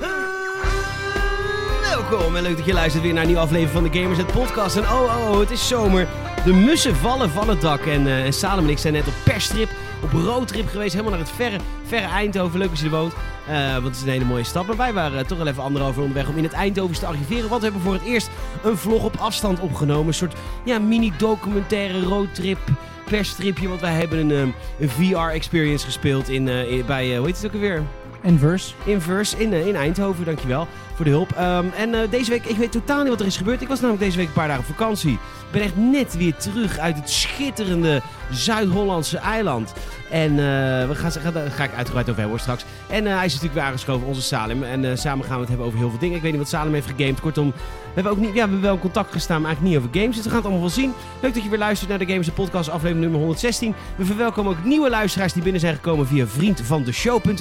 Eh, welkom en leuk dat je luistert weer naar een nieuwe aflevering van de Gamers het Podcast. En oh, oh, oh, het is zomer. De mussen vallen van het dak. En, eh en Salem en ik zijn net op perstrip, op roadtrip geweest. Helemaal naar het verre, verre Eindhoven. Leuk als je er woont, eh, want het is een hele mooie stap. Maar wij waren eh, toch wel even anderhalf uur onderweg om in het Eindhoven te arriveren. Want we hebben voor het eerst een vlog op afstand opgenomen. Een soort ja, mini-documentaire roadtrip perstripje. Want wij hebben een, eh, een VR-experience gespeeld in, eh, in- bij, eh, hoe heet het ook alweer? En verse. Inverse in, eh, in Eindhoven. Dankjewel voor de hulp. Ehm, en eh, deze week, ik weet totaal niet wat er is gebeurd. Ik was namelijk deze week een paar dagen op vakantie. Ik ben echt net weer terug uit het schitterende Zuid-Hollandse eiland. En eh, we gaan, ga, daar ga ik uitgebreid over hebben hoor, straks. En eh, hij is natuurlijk weer aangeschoven, onze Salem. En eh, samen gaan we het hebben over heel veel dingen. Ik weet niet wat Salem heeft gegamed. Kortom, we hebben, ook niet, ja, we hebben wel in contact gestaan, maar eigenlijk niet over games. Dus we gaan het allemaal wel zien. Leuk dat je weer luistert naar de Games en Podcast, aflevering nummer 116. We verwelkomen ook nieuwe luisteraars die binnen zijn gekomen via vriendvandeshow.nl.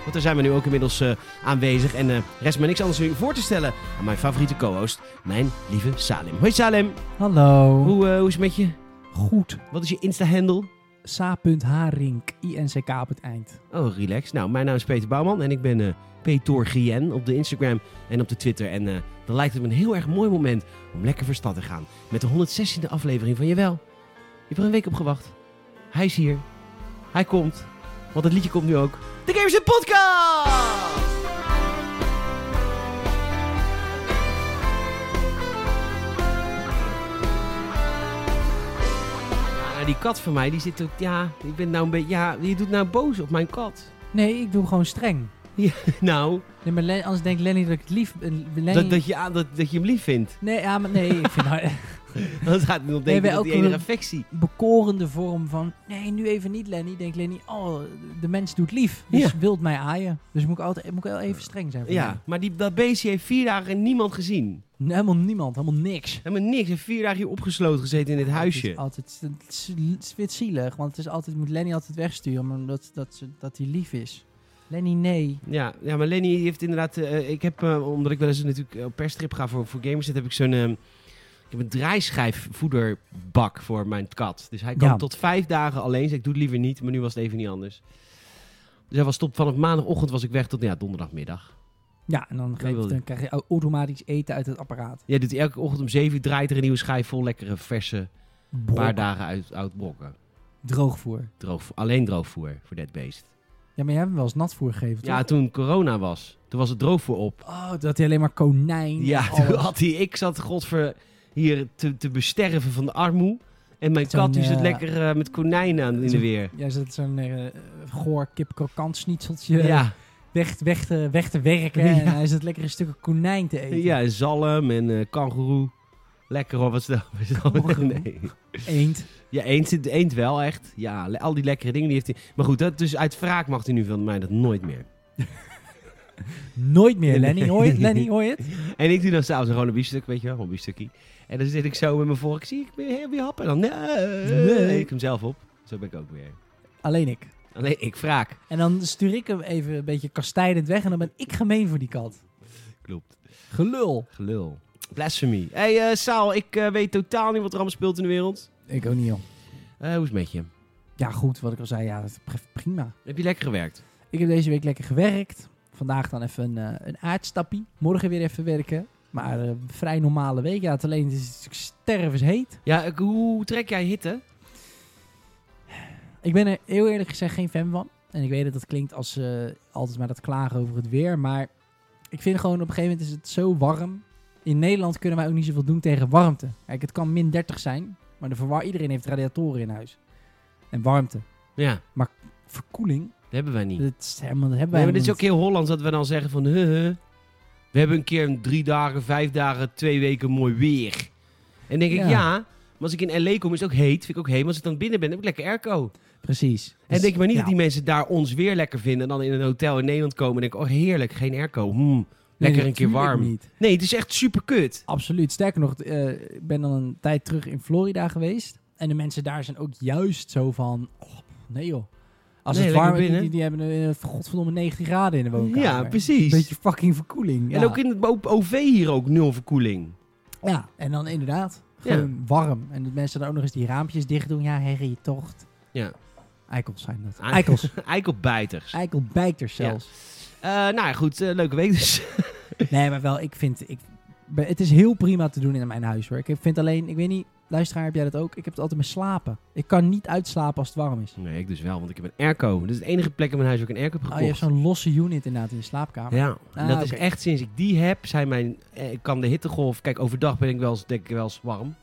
Want daar zijn we nu ook inmiddels eh, aanwezig. En eh rest mij niks anders nu voor te stellen aan mijn favoriete co-host, mijn lieve Salem. Hoi Salem, Hallo. hoe, eh, hoe is het met je? Goed. Wat is je Insta-handle? Sa.harink. INCK op het eind. Oh, relax. Nou, mijn naam is Peter Bouwman en ik ben eh Peter Gien op de Instagram en op de Twitter. En eh, dan lijkt het me een heel erg mooi moment om lekker voor stad te gaan. Met de 116e aflevering van Jawel. Je hebt er een week op gewacht. Hij is hier. Hij komt. Want het liedje komt nu ook. De Gamers in Podcast! Ja, nou, Die kat van mij, die zit ook, ja, ik ben nou een beetje, ja, je doet nou boos op mijn kat. Nee, ik doe hem gewoon streng. Nou, Nee, maar Len- anders denkt Lenny dat ik het lief... eh, Lenny... dat, dat, je, aan- dat, dat je hem lief vindt. Nee, ja, maar nee. Ik vind haar Dat gaat nog Nee, denken bij dat die elke- enige affectie. bekorende vorm van... Nee, nu even niet Lenny. Denkt Lenny, oh, de mens doet lief. Dus Ja. wilt mij aaien. Dus moet ik altijd moet ik wel even streng zijn voor Ja, Lenny. maar die, dat beestje heeft vier dagen niemand gezien. Nee, Helemaal niemand. Helemaal niks. Helemaal niks. Hij heeft vier dagen hier opgesloten gezeten in dit Het is huisje. altijd het is- het is weer zielig, want het is altijd, moet Lenny altijd wegsturen maar omdat dat, ze- dat hij lief is. Lenny, nee. Ja, ja, maar Lenny heeft inderdaad... eh, ik heb, eh, omdat ik wel eens natuurlijk eh, op perstrip ga voor, voor gamers, heb ik zo'n... eh, ik heb een draaischijfvoederbak voor mijn kat. Dus hij kan Ja. tot vijf dagen alleen zijn. Ik doe het liever niet, maar nu was het even niet anders. Dus hij was top, vanaf maandagochtend was ik weg tot nou ja, donderdagmiddag. Ja, en dan, geeft, wilde dan krijg je au- automatisch eten uit het apparaat. Jij doet elke ochtend om zeven uur, draait er een nieuwe schijf vol lekkere, verse, paar dagen uit, oud brokken. Droogvoer. Droog, alleen droogvoer voor Dead Beest. Ja, maar jij hebt hem wel eens natvoer gegeven, Ja, toch? toen corona was, toen was het droogvoer op. Oh, dat hij alleen maar konijn. Ja, en toen alles. had hij, ik zat godver hier te, te besterven van de armoe. En mijn Zo'n, kat die zit eh, lekker eh, met konijnen aan in de zo'n- weer. Jij zat zo'n eh goor kip krokant schnitzeltje Ja, weg, weg, te, weg te werken. En Ja. hij zat lekker een stukje konijn te eten. ja zalm en eh kangoeroe. Lekker hoor, wat is dat? Wat is dat? Kangoeroe. Nee. Eend. Ja, eend, eend wel echt. Ja, le- al die lekkere dingen die heeft hij. Maar goed, dat, dus uit wraak mag hij nu van mij dat nooit meer. Nooit meer, Nee. Lenny. Hoor je het? Lenny, hoor je het? En ik doe dan s'avonds gewoon een biefstuk, weet je wel, gewoon een biefstukje. En dan zit ik zo met mijn vork, zie ik weer heel weer happen. En dan nee, Nee. ik hem zelf op. Zo ben ik ook weer. Alleen ik. Alleen ik wraak. En dan stuur ik hem even een beetje kastijdend weg en dan ben ik gemeen voor die kat. Klopt. Gelul. Gelul. Blasphemy. Hé, hey, eh, Saal, ik eh, weet totaal niet wat er allemaal speelt in de wereld. Ik ook niet, joh. Eh, hoe is het met je? Ja, goed, wat ik al zei, ja, dat is prima. Heb je lekker gewerkt? Ik heb deze week lekker gewerkt. Vandaag dan even een, eh, een aardstappie. Morgen weer even werken. Maar eh, vrij normale week. Ja, het alleen het is stervensheet. Ja, ik- hoe trek jij hitte? Ik ben er heel eerlijk gezegd geen fan van. En ik weet dat dat klinkt als eh, altijd maar dat klagen over het weer. Maar ik vind gewoon op een gegeven moment is het zo warm. In Nederland kunnen wij ook niet zoveel doen tegen warmte. Kijk, het kan min 30 zijn. Maar de verwar iedereen heeft radiatoren in huis. En warmte. Ja, dat Verkoeling. hebben wij niet. Dat, is helemaal, dat hebben wij Nee, maar Eh, dit is helemaal ook heel Hollands dat we dan zeggen van... huh, huh. we hebben een keer een drie dagen, vijf dagen, twee weken mooi weer. En denk Ja. ik, ja... Maar als ik in L.A. kom, is het ook heet. Vind ik ook heet. Maar als ik dan binnen ben, heb ik lekker airco. niet. Precies. En Dus- denk je maar niet ja. dat die mensen daar ons weer lekker vinden... en dan in een hotel in Nederland komen en denken... oh, heerlijk, geen airco. Hmm, lekker een keer natuurlijk warm. niet. Nee, het is echt super kut. Absoluut. Sterker nog, eh, ik ben dan een tijd terug in Florida geweest. En de mensen daar zijn ook juist zo van... Oh, nee joh. Als Nee, het lekker warm is, die, binnen. die, die hebben een, eh, godverdomme 19 graden in de woonkamer. Ja, precies. Beetje fucking verkoeling. Ja. En ook in het O- OV hier ook nul verkoeling. ja, en dan inderdaad. Ja. Gewoon warm. En dat mensen dan ook nog eens die raampjes dicht doen. Ja, herrie, tocht. Ja. Eikels zijn dat. Ei- Eikels. Eikelbijters. Eikelbijters zelfs. Eh, nou ja, goed. eh, leuke week dus. Nee, maar wel, ik vind... Ik, be- het is heel prima te doen in mijn huis hoor. Ik heb- vind alleen, ik weet niet, luisteraar, heb jij dat ook? Ik heb het altijd met slapen. Ik kan niet uitslapen als het warm is. Nee, ik dus wel, want ik heb een airco. Dat is de enige plek in mijn huis waar ik een airco heb Oh, je hebt gekocht. zo'n losse unit inderdaad in je slaapkamer. ja, en Ah, dat is oké. echt sinds ik die heb, zijn mijn, eh, ik kan de hittegolf... Kijk, overdag ben ik wel eens, denk ik wel eens warm.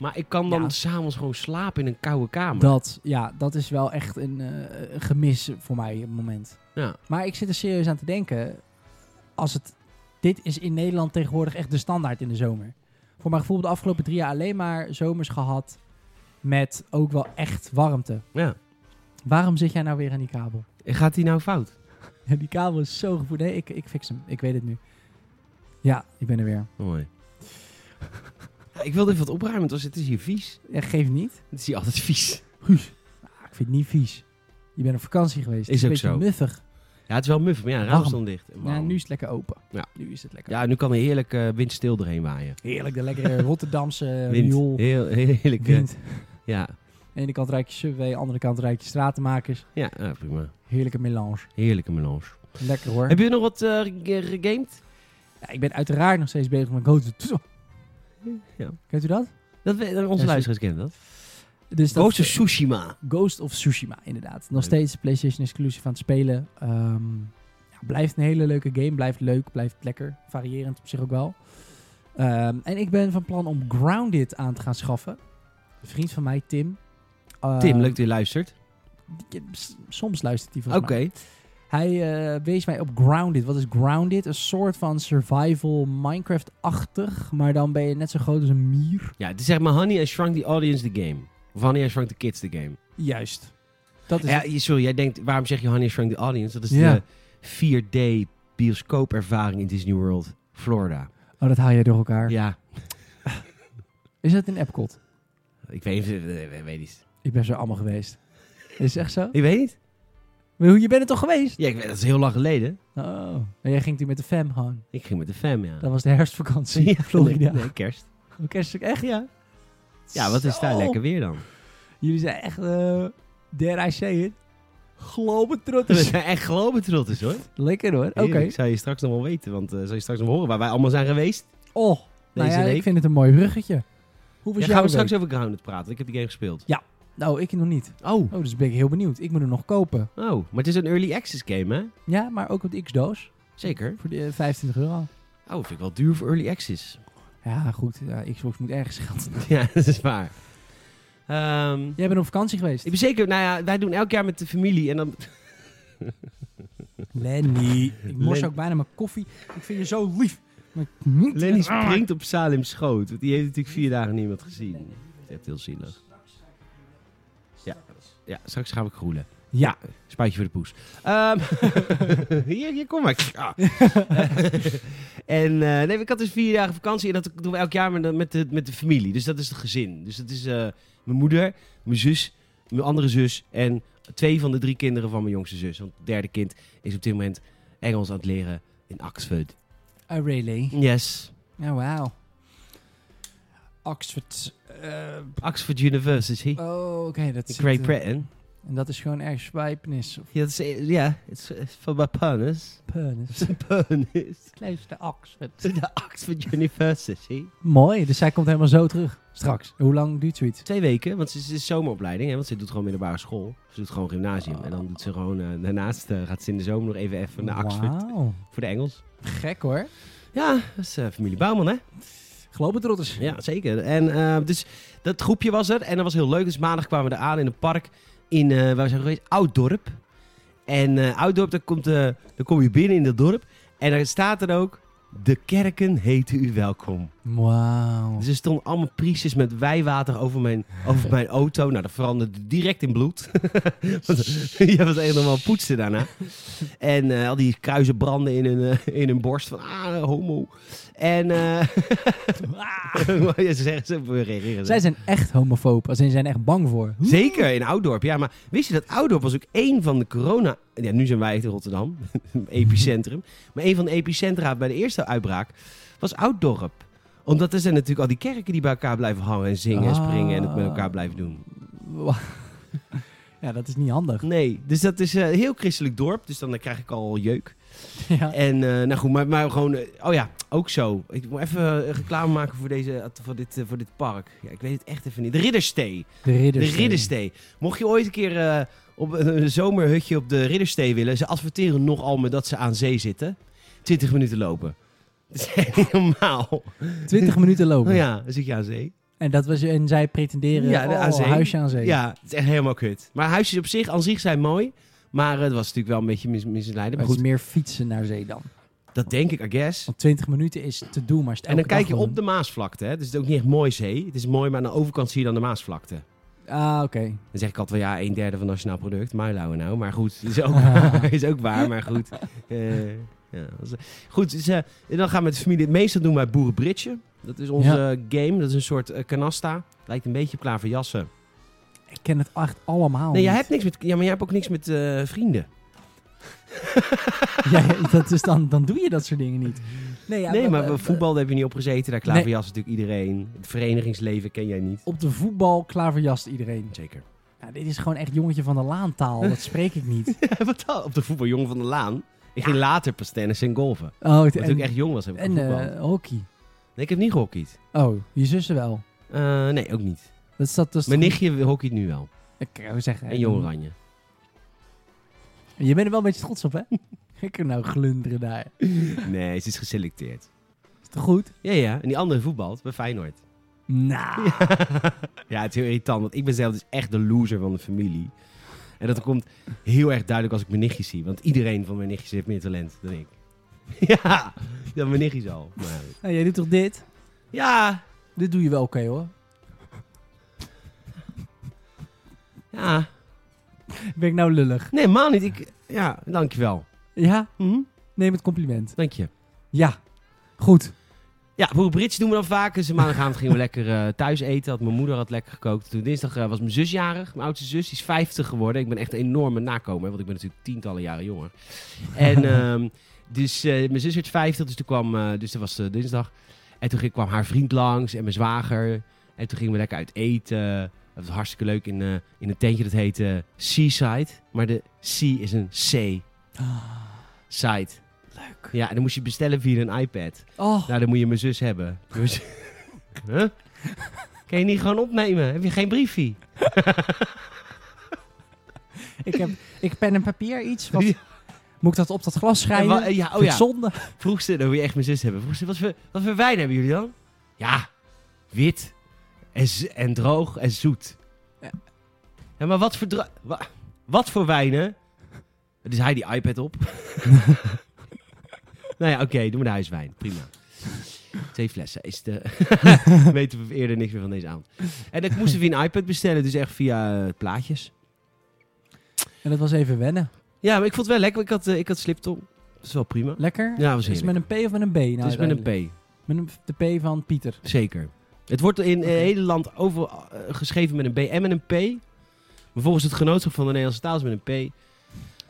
Maar ik kan dan Ja. s'avonds gewoon slapen in een koude kamer. Dat, ja, dat is wel echt een eh, een gemis voor mij op het moment. Ja. Maar ik zit er serieus aan te denken. Als het, dit is in Nederland tegenwoordig echt de standaard in de zomer. Voor mijn gevoel heb ik de afgelopen drie jaar alleen maar zomers gehad met ook wel echt warmte. ja. Waarom zit jij nou weer aan die kabel? En Gaat die nou fout? Ja, die kabel is zo gevoed. Nee, ik, ik fix hem. Ik weet het nu. Ja, ik ben er weer. Mooi. ik wilde even wat opruimen, want als- het is hier vies. Ja, geef niet. Het is hier altijd vies. Ah, ik vind het niet vies. Je bent op vakantie geweest. Is Het ook een beetje zo. muffig. Ja, het is wel muff, maar ja, het raam Warm. is dan dicht. Ja, Warm. nu is het lekker open. Ja. Nu is het lekker ja, nu kan er heerlijk eh, windstil doorheen waaien. Heerlijk, de lekkere Rotterdamse eh, Wind. riool. Heel, heerlijk. eh, Wind. Aan ja. de ene kant ruik je Subway, aan de andere kant ruik je stratenmakers. Ja, ja, prima. Heerlijke melange. Heerlijke melange. Lekker hoor. Heb je nog wat eh, ge- gegamed? Ja, ik ben uiteraard nog steeds bezig met Ghost of Tsushima. Ja. Kent u dat? Dat we, eh, onze Ja, luisteraars kennen dat. Dus dat Ghost of Tsushima. Ghost of Tsushima, inderdaad. Nog Leuk. steeds PlayStation exclusief aan het spelen. Ehm, ja, blijft een hele leuke game. Blijft leuk, blijft lekker. Variërend op zich ook wel. Ehm, en ik ben van plan om Grounded aan te gaan schaffen. Een vriend van mij, Tim. Eh, Tim, leuk dat je luistert. die- s- Soms luistert hij Oké. volgens mij. Hij eh, wees mij op Grounded. Wat is Grounded? Een soort van survival Minecraft-achtig. Maar dan ben je net zo groot als een mier. Ja, het is zeg maar Honey I Shrunk the Audience the Game. Of Honey I Shrunk the Kids the Game. Juist. Dat is Ja, je- sorry, jij denkt, waarom zeg je Honey I Shrunk the Audience? Dat is Ja. de 4D bioscoopervaring in Disney World, Florida. Oh, dat haal jij door elkaar. Ja, Is dat in Epcot? ik weet, eh, eh, weet niet. Ik ben zo allemaal geweest. Is het echt zo? Ik weet niet. Maar hoe, je bent er toch geweest? Ja, ik weet, dat is heel lang geleden. Oh. En jij ging toen met de fam gewoon. Ik ging met de fam, ja. Dat was de herfstvakantie. Ja, Florida. Nee, nee, kerst. Oké, is het echt? Ja. Ja, wat is daar Zo. lekker weer dan? Jullie zijn echt, eh dare I say it, We globetrotters. zijn echt globetrotters, hoor. Lekker hoor. Dus- Oké. Oké. Ik zou je straks nog wel weten, want eh zou je straks nog horen waar wij allemaal zijn geweest. Oh, nou Deze ja, week. ik vind het een mooi bruggetje. Hoe was Ja, jouw gaan we week? straks over Grounded praten. Ik heb die game gespeeld. Nou, ik nog niet. Oh. Oh, dus ben ik heel benieuwd. Ik moet hem nog kopen. Oh, maar het is een early access game, hè? Ja, maar ook op de X-doos. Zeker. Voor de eh, 25 euro. Oh, vind ik wel duur voor early access. Ja, goed. Ja, Xbox moet ergens geld. ja, dat is waar. Ehm, Jij bent op vakantie geweest. ik ben zeker, nou ja, wij doen elk jaar met de familie en dan... Lenny. Ik mors Len- ook bijna mijn koffie. Ik vind je zo lief. Maar ik niet- Lenny springt op Salim's schoot, want die heeft natuurlijk vier dagen niemand gezien. Echt heel zielig. Ja, ja straks gaan we kroelen. Ja. Spuitje voor de poes. Ehm, hier, hier, kom maar. Ah. en eh, nee, ik had dus vier dagen vakantie. En dat doen we elk jaar met de, met de, met de familie. Dus dat is het gezin. Dus dat is eh, mijn moeder, mijn zus, mijn andere zus... en twee van de drie kinderen van mijn jongste zus. Want het derde kind is op dit moment Engels aan het leren in Oxford. Oh, really? Yes, Oh, wauw. Oxford. eh, Oxford University. oh, oké. dat in is. Great Britain. En dat is gewoon ergens Wijpenis of Ja, dat is- Ja, het is is van mijn penis. Pernis. Penis. Kleinste Oxford. De Oxford University. Mooi, dus zij komt helemaal zo terug. Straks. Hoe lang duurt zoiets? Twee weken, want ze is, ze is zomeropleiding. Hè, want ze doet gewoon middelbare school. Ze doet gewoon gymnasium. En dan doet ze gewoon, eh, daarnaast eh, gaat ze in de zomer nog even, even naar Oxford. Wauw. Voor de Engels. Gek hoor. Ja, dat is eh, familie Bouwman, hè? Globetrotters. Ja, zeker. En eh, dus dat groepje was er. En dat was heel leuk. Dus maandag kwamen we eraan in een park in, eh, waar we zijn geweest, Ouddorp. En eh Ouddorp, daar, komt, eh, daar kom je binnen in dat dorp. En daar staat er ook, de kerken heten u welkom. Wauw. Dus er stonden allemaal priesters met wijwater over mijn, over mijn auto. Nou, dat veranderde direct in bloed. Je was helemaal poetsen daarna. En eh, al die kruisen branden in hun, eh, in hun borst. Van, ah, homo. En... eh, ja, ze zeggen, ze reageren. Zij zo. zijn echt homofoob. Als in, ze zijn echt bang voor. Zeker, in Ouddorp. Ja, maar wist je dat Ouddorp was ook één van de corona... Ja, nu zijn wij echt in Rotterdam. epicentrum. Maar één van de epicentra bij de eerste uitbraak was Ouddorp. Omdat er zijn natuurlijk al die kerken die bij elkaar blijven hangen en zingen en springen en het met elkaar blijven doen. Wa- Ja, dat is niet handig. Nee, dus dat is eh, een heel christelijk dorp. Dus dan eh, krijg ik al jeuk. ja. En eh, nou goed, maar, maar gewoon... eh, oh ja, ook zo. Ik moet even eh, reclame maken voor, deze, voor, dit, eh, voor dit park. Ja, ik weet het echt even niet. De Ridderstee. De ridders. De Ridderstee. Mocht je ooit een keer eh, op een zomerhutje op de Ridderstee willen... Ze adverteren nogal met dat ze aan zee zitten. 20 minuten lopen. Dat is echt niet normaal. 20 minuten lopen. Nou ja, dan zit je aan zee. En, dat was, en zij pretenderen Ja, ja, de- aan zee. huisje aan zee. Ja, het is echt helemaal kut. Maar huisjes op zich, aan zich zijn mooi. Maar eh, het was natuurlijk wel een beetje mis, misleidend. Maar Maar het is goed, meer fietsen naar zee dan. dat denk ik, I guess. Want 20 minuten is te doen, maar is het En dan elke dag kijk je wel op de Maasvlakte. Hè? Dus het is ook niet echt mooi zee. Het is mooi, maar aan de overkant zie je dan de Maasvlakte. doen. Ah, oké. Dan zeg ik altijd wel, ja, een derde van nationaal product. Muilauwen nou. Maar goed, is ook, is ook waar. Maar goed. Eh, ja, dat is- goed, dus, eh, en dan gaan we met de familie het meeste doen bij Boerenbritje. Dat is onze game. Dat is een soort eh, canasta. Lijkt een beetje op klaverjassen. Ik ken het echt allemaal. Nee, jij niet. hebt niks met... Ja, maar jij hebt ook niks met eh, vrienden. Ja, dat is dan, dan doe je dat soort dingen niet. Nee, ja, nee, wat- maar eh, voetbal heb je niet opgezeten. Daar klaverjas natuurlijk iedereen. Het verenigingsleven ken jij niet. Op de voetbal klaverjast iedereen. Zeker. Ja, dit is gewoon echt jongetje van de laantaal. Dat spreek ik niet. Wat dan? Op de voetbaljongen van de Laan. Ik ging later pas tennis en golven. Oh, het- Toen en, ik echt jong was, heb ik en gevoetbald. eh, hockey. Nee, ik heb niet gehockeyd. Oh, je zussen wel. Eh, nee, ook niet. Dat is dat, dat is Mijn goed. nichtje hockeyt nu wel. Ik kan zeggen. eh, En Jong Oranje. Je bent er wel een beetje trots op, hè? ik kan nou glunderen daar. Nee, ze is geselecteerd. Is het goed? Ja, ja. En die andere voetbalt bij Feyenoord. Nou. ja, het is heel irritant. Want ik ben zelf dus echt de loser van de familie. En dat komt heel erg duidelijk als ik mijn nichtjes zie. Want iedereen van mijn nichtjes heeft meer talent dan ik. ja, dan mijn nichtjes al. Maar... Nou, jij doet toch dit? Ja, Dit doe je wel oké, hoor. ja. Ben ik nou lullig? Nee, man niet. Ik... Ja, dankjewel. Ja, Mhm, neem het compliment. Dank je. Ja, goed. Ja, Boer Brits doen we dan vaak. Dus maandagavond gingen we lekker eh, thuis eten. Had mijn moeder had lekker gekookt. Toen dinsdag eh, was mijn zus jarig. Mijn oudste zus. Die is 50 geworden. Ik ben echt een enorme nakomer. Want ik ben natuurlijk tientallen jaren jonger. En ehm, dus eh, mijn zus werd 50. Dus toen kwam... eh, dus dat was eh, dinsdag. En toen ging- kwam haar vriend langs. En mijn zwager. En toen gingen we lekker uit eten. Dat was hartstikke leuk in, eh, in een tentje. Dat heette eh, Seaside. Maar de C is een C. Side. Leuk. Ja, en dan moest je bestellen via een iPad. Oh, Nou, dan moet je mijn zus hebben. Dus... huh? Kan je niet gewoon opnemen? Heb je geen briefie? ik heb ik pen en papier iets. Wat, eh, Ja. Moet ik dat op dat glas En schrijven? wa- ja, Vind oh ik ja. Zonde. Vroeg ze, dan wil je echt mijn zus hebben. Vroeg ze, wat voor, wat voor wijn hebben jullie dan? Ja, wit en, z- en droog en zoet. Ja. Ja, maar wat voor, dro- wa- wat voor wijnen? Dus hij die iPad op. nou ja, oké, doe maar de huiswijn. Prima. Twee flessen. Is de... Weten we eerder niks meer van deze avond. En ik moesten we via een iPad bestellen, dus echt via eh, plaatjes. En dat was even wennen. Ja, maar ik vond het wel lekker. Ik had, eh, ik had sliptop. Dat is wel prima. Lekker? Ja, was Is het heerlijk. met een P of met een B? Nou, Het is met een P. uiteindelijk? Met een- de P van Pieter. Zeker. Het wordt in het hele land over, eh, geschreven met een B en met een P. Maar volgens het genootschap van de Nederlandse taal is het met een P.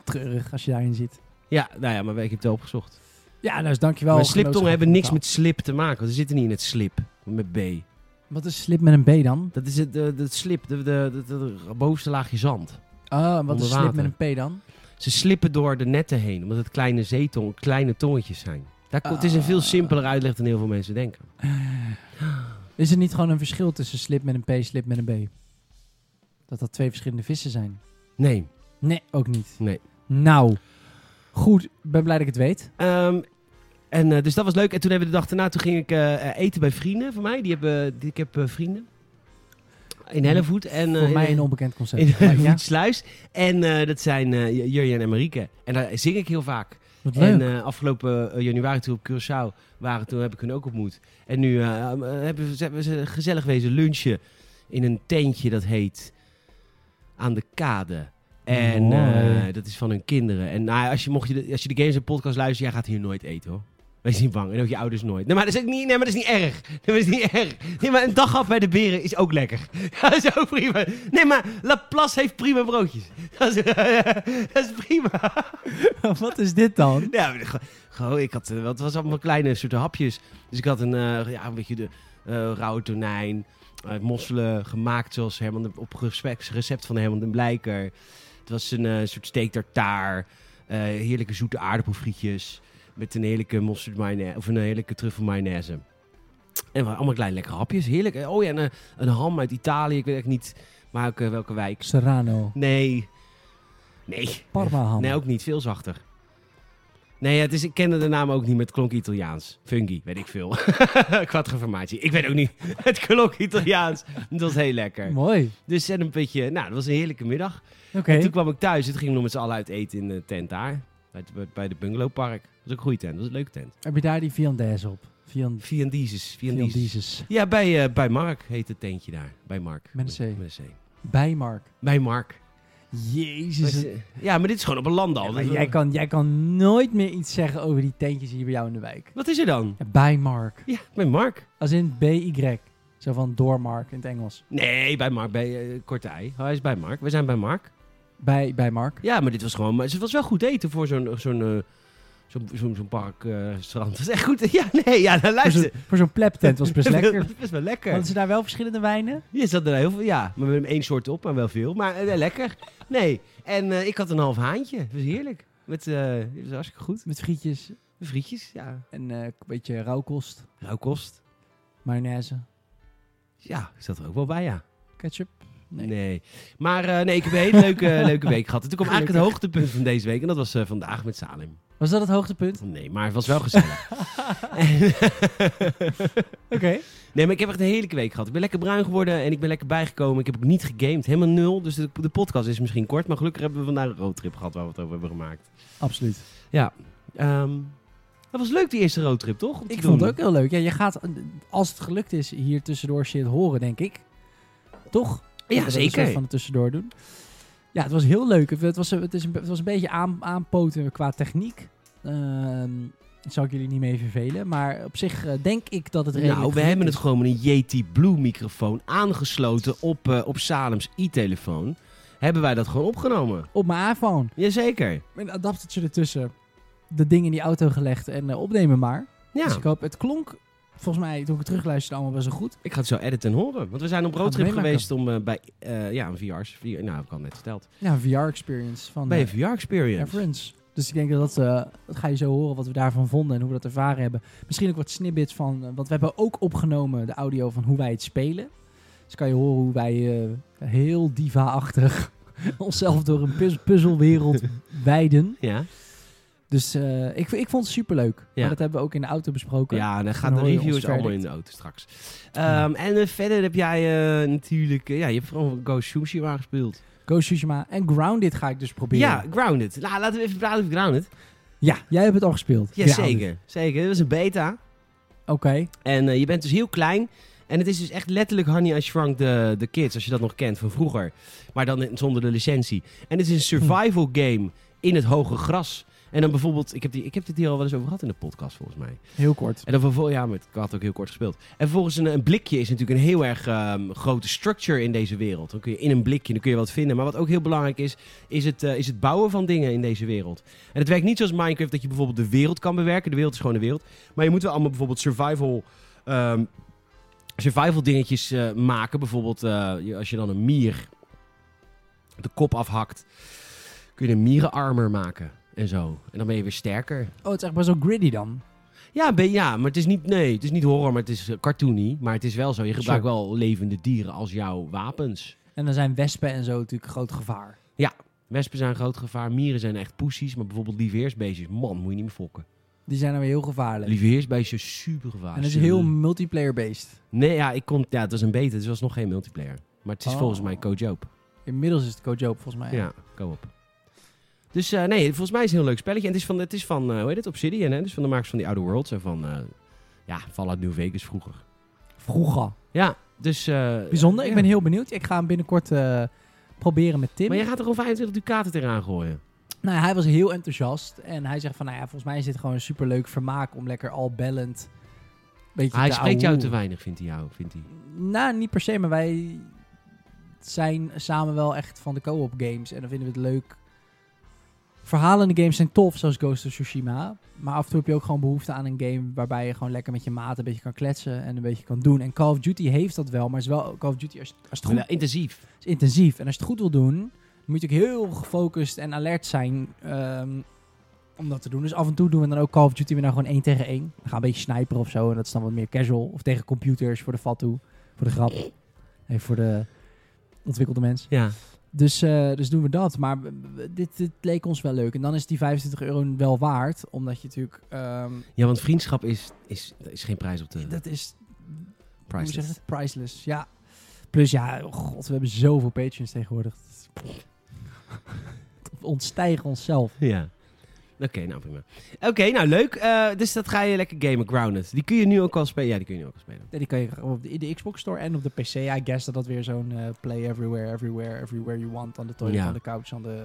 Treurig als je daarin zit. Ja, nou ja, maar ik heb het wel opgezocht. Ja, nou, dus dankjewel. maar sliptongen Genootschap hebben niks van met slip te maken. Want ze zitten niet in het slip. Met B. taal. Wat is slip met een B dan? Dat is het, eh, dat slip, de, de, de, de bovenste laagje zand. Oh, en wat Onder is slip water. met een P dan? Ze slippen door de netten heen. Omdat het kleine zeetong, kleine tongetjes zijn. Daar, komt- Het is een Ah. veel simpeler uitleg dan heel veel mensen denken. Is er niet gewoon een verschil tussen slip met een P, slip met een B? Dat dat twee verschillende vissen zijn? Nee. Nee, ook niet. Nee. Nou, goed. Ben blij dat ik het weet. Ehm, en, eh, dus dat was leuk. En toen hebben we de dag daarna, toen ging ik eh, eh, eten bij vrienden van mij. Die hebben, die, ik heb eh, vrienden. In Hellevoet. En, eh, Voor Hm. mij een in, onbekend concept. in Maar ja, Hellevoetsluis. En eh, dat zijn eh Jurjen en Marieke. En daar zing ik heel vaak. wat En leuk. eh, afgelopen eh, januari toen we op Curaçao waren, toen heb ik hun ook ontmoet. En nu eh, eh, hebben we, zijn we ze gezellig wezen lunchen in een tentje dat heet Aan de Kade. En Mooi. eh, dat is van hun kinderen. En nou, ja, als, je, mocht je de, als je de Games en Podcast luistert, jij gaat hier nooit eten hoor. Wees niet bang. En ook je ouders nooit. Nee, maar dat is, ook niet, nee, maar dat is niet erg. Nee, maar dat is niet erg. Nee, maar een daghap bij de beren is ook lekker. Dat is ook prima. Nee, maar Laplace heeft prima broodjes. Dat is, dat is prima. wat is dit dan? Ja, maar ge- gewoon, ik had, eh, wel, het was allemaal kleine soorten hapjes. Dus ik had een, eh, ja, een beetje de eh rauwe tonijn, eh, mosselen gemaakt zoals Herman de- op respect- recept van Herman den Blijker. Het was een eh, soort steak tartaar, eh, heerlijke zoete aardappelfrietjes met een heerlijke mosterd mayonaise of een heerlijke truffel mayonaise. En wa- allemaal kleine lekkere hapjes, heerlijk. Eh, Oh ja, en eh, een ham uit Italië, ik weet echt niet maar ook, eh, welke wijk. Serrano. Nee. Nee. Parma ham. Nee, ook niet. Veel zachter. Nee, het is, ik kende de naam ook niet, maar het klonk Italiaans. Fungi, weet ik veel. Quattroformatie. Ik weet ook niet. Het klonk Italiaans. Dat was heel lekker. Mooi. Dus en een beetje... Nou, dat was een heerlijke middag. Oké. En toen kwam ik thuis. Het ging nog met z'n allen uit eten in de tent daar. Bij, het- bij- bij de bungalowpark. Dat was ook een goede tent. Dat was een leuke tent. Heb je daar die viandaise op? Viand Viandizes. Viandizes. viandaises. Ja, bij, eh, bij Mark heet het tentje daar. Bij Mark. Met een C. Met een C. Bij Mark. Bij Mark. Jezus. het- Ja, maar dit is gewoon op een landal. Ja, maar jij, kan, jij kan nooit meer iets zeggen over die tentjes hier bij jou in de wijk. Wat is er dan? Ja, bij Mark. Ja, bij Mark. Als in B-Y. Zo van door Mark in het Engels. Nee, bij Mark, bij eh, Korte Ei. Hij is bij Mark. We zijn bij Mark. Bij, bij Mark. Ja, maar dit was gewoon... Maar het was wel goed eten voor zo'n... zo'n eh, Zo'n zo'n zo'n park, eh, restaurant. Dat is echt goed. Ja, nee, ja, nou, Voor luister. zo'n- voor zo'n pleptent Dus was best lekker. Best wel lekker. Hadden ze daar wel verschillende wijnen? Je zat er heel veel, ja. Maar met één soort op, maar wel veel. Maar eh, wel lekker. Nee. En eh, ik had een half haantje. Dat was heerlijk. Met, eh dat was hartstikke goed. Met frietjes Met frietjes, ja. en eh, een beetje rauwkost. Rauwkost. Mayonaise. Ja, ik zat er ook wel bij, ja. Ketchup. Nee. Nee. Maar eh, nee, ik heb een hele leuke, leuke week gehad. En toen kwam eigenlijk het hoogtepunt van deze week. En dat was eh, vandaag met Salem. Was dat het hoogtepunt? Nee, maar het was wel gezellig. Oké. nee, maar ik heb echt een heerlijke week gehad. Ik ben lekker bruin geworden en ik ben lekker bijgekomen. Ik heb ook niet gegamed, helemaal nul. Dus de, de podcast is misschien kort, maar gelukkig hebben we vandaag een roadtrip gehad waar we het over hebben gemaakt. Absoluut. Ehm, dat was leuk, die eerste roadtrip, toch? Om te Ik doen. vond het ook heel leuk. Ja, je gaat, eh, als het gelukt is, hier tussendoor shit horen, denk ik. Toch? Ja, Dat is een soort zeker. van het tussendoor doen. Ja, het was heel leuk. Het was, het is een, het was een beetje aan, aanpoten qua techniek. Ehm dat zal ik jullie niet mee vervelen. Maar op zich eh, denk ik dat het redelijk Nou, we gelukt hebben is. het gewoon met een Yeti Blue microfoon aangesloten op, eh, op Salems i-telefoon. Hebben wij dat gewoon opgenomen? op mijn iPhone. Jazeker. Een adaptertje ertussen. De ding in die auto gelegd en eh, opnemen maar. Ja, Dus ik hoop, het klonk volgens mij, toen ik het terugluisterde, allemaal best wel goed. ik ga het zo editen en horen. Want we zijn op Gaan we roadtrip meemaken. geweest om eh, bij eh, ja, een VR's. VR, nou, ik had het net verteld. Ja, een VR-experience van Bij eh, een VR-experience. Friends. Dus ik denk dat dat, eh, dat ga je zo horen wat we daarvan vonden en hoe we dat ervaren hebben. Misschien ook wat snippets van, eh, want we hebben ook opgenomen de audio van hoe wij het spelen. Dus kan je horen hoe wij eh, heel diva-achtig onszelf door een puz- puzzelwereld wijden. Ja, Dus eh, ik, ik vond het superleuk. Ja. Maar dat hebben we ook in de auto besproken. ja dan gaat Dan de hoor je review ons is allemaal verder. in de auto straks. Ehm, En eh, verder heb jij eh, natuurlijk... eh, ja, je hebt vooral Go Sushi waar gespeeld. Go Tsushima en Grounded ga ik dus proberen. Ja, Grounded. Nou, laten we even praten over Grounded. Ja, jij hebt het al gespeeld. Ja, Grounded. zeker. Zeker. Dit was een beta. Oké. En eh, je bent dus heel klein. En het is dus echt letterlijk Honey I Shrunk the, the Kids, als je dat nog kent van vroeger. Maar dan in- zonder de licentie. En het is een survival game in het hoge gras. En dan bijvoorbeeld, ik heb, die, ik heb dit hier al wel eens over gehad in de podcast volgens mij. Heel kort. En dan vervolgens, ja, maar ik had ook heel kort gespeeld. En vervolgens een, een blikje is natuurlijk een heel erg ehm, grote structure in deze wereld. Dan kun je in een blikje, dan kun je wat vinden. Maar wat ook heel belangrijk is, is het, eh, is het bouwen van dingen in deze wereld. En het werkt niet zoals Minecraft dat je bijvoorbeeld de wereld kan bewerken. De wereld is gewoon de wereld. Maar je moet wel allemaal bijvoorbeeld survival... ehm, Survival dingetjes eh, maken. Bijvoorbeeld eh, je- als je dan een mier de kop afhakt. Kun je een mierenarmer maken en zo. En dan ben je weer sterker. Oh, het is echt best wel gritty dan. Ja, ben, ja, maar het is niet, nee, het is niet horror, maar het is eh, cartoony. Maar het is wel zo, je gebruikt wel levende dieren als jouw wapens. En dan zijn wespen en zo natuurlijk groot gevaar. Wespen zijn een groot gevaar, mieren zijn echt poesies. Maar bijvoorbeeld lieveheersbeestjes, man, moet je niet meer fokken. Die zijn dan weer heel gevaarlijk. Lieveheersbeestjes, super gevaar. En dat is heel multiplayer-based. Nee, ja, ik kon, ja, het was een beta, dus er was nog geen multiplayer. Maar het is Oh. volgens mij co-joop. Inmiddels is het Coach Joop volgens mij. Ja, co-op. Dus eh, nee, volgens mij is het een heel leuk spelletje. En het is van, het is van eh, hoe heet het, Obsidian, hè? Dus van de makers van die Outer Worlds en van, eh ja, Fallout New Vegas vroeger. Vroeger. Ja, dus... eh, Bijzonder, ja. ik ben heel benieuwd. Ik ga hem binnenkort eh, proberen met Tim. Maar jij gaat er gewoon 25 ducaten tegenaan gooien. Nou, hij was heel enthousiast. En hij zegt van, nou ja, volgens mij is dit gewoon een superleuk vermaak om lekker al bellend... Beetje hij te spreekt jou te ouwehoeren. weinig, vindt hij jou, vindt hij. Nou, niet per se, maar wij zijn samen wel echt van de co-op games. En dan vinden we het leuk verhalende games zijn tof, zoals Ghost of Tsushima. Maar af en toe heb je ook gewoon behoefte aan een game waarbij je gewoon lekker met je maat een beetje kan kletsen en een beetje kan doen. En Call of Duty heeft dat wel, maar is wel Call of Duty als, als het goed Ja, intensief. is Nou, intensief. En als je het goed wil doen, moet je ook heel gefocust en alert zijn ehm, om dat te doen. Dus af en toe doen we dan ook Call of Duty weer nou gewoon één tegen één. We gaan een beetje sniper of zo. En dat is dan wat meer casual. Of tegen computers voor de fat toe. Voor de grap. Nee, voor de ontwikkelde mens. Ja. Dus, eh, dus doen we dat. Maar we- we- dit, dit leek ons wel leuk. En dan is die 25 euro wel waard. Omdat je natuurlijk... ehm, ja, want vriendschap is, is, is geen prijs op de dat is prijs. hoe zeg je dat? Priceless, ja. Plus ja, oh god, we hebben zoveel patrons tegenwoordig. We ontstijgen onszelf. Ja. Oké, nou prima. Oké, nou leuk. Eh, dus dat ga je lekker gamen, Grounded. Die kun je nu ook al spelen. Ja, die kun je nu ook al spelen. Ja, die kan je gewoon op de, in de Xbox Store en op de PC. I guess dat dat weer zo'n eh, play everywhere, everywhere, everywhere you want. Aan de toilet, Ja. aan de couch, aan de,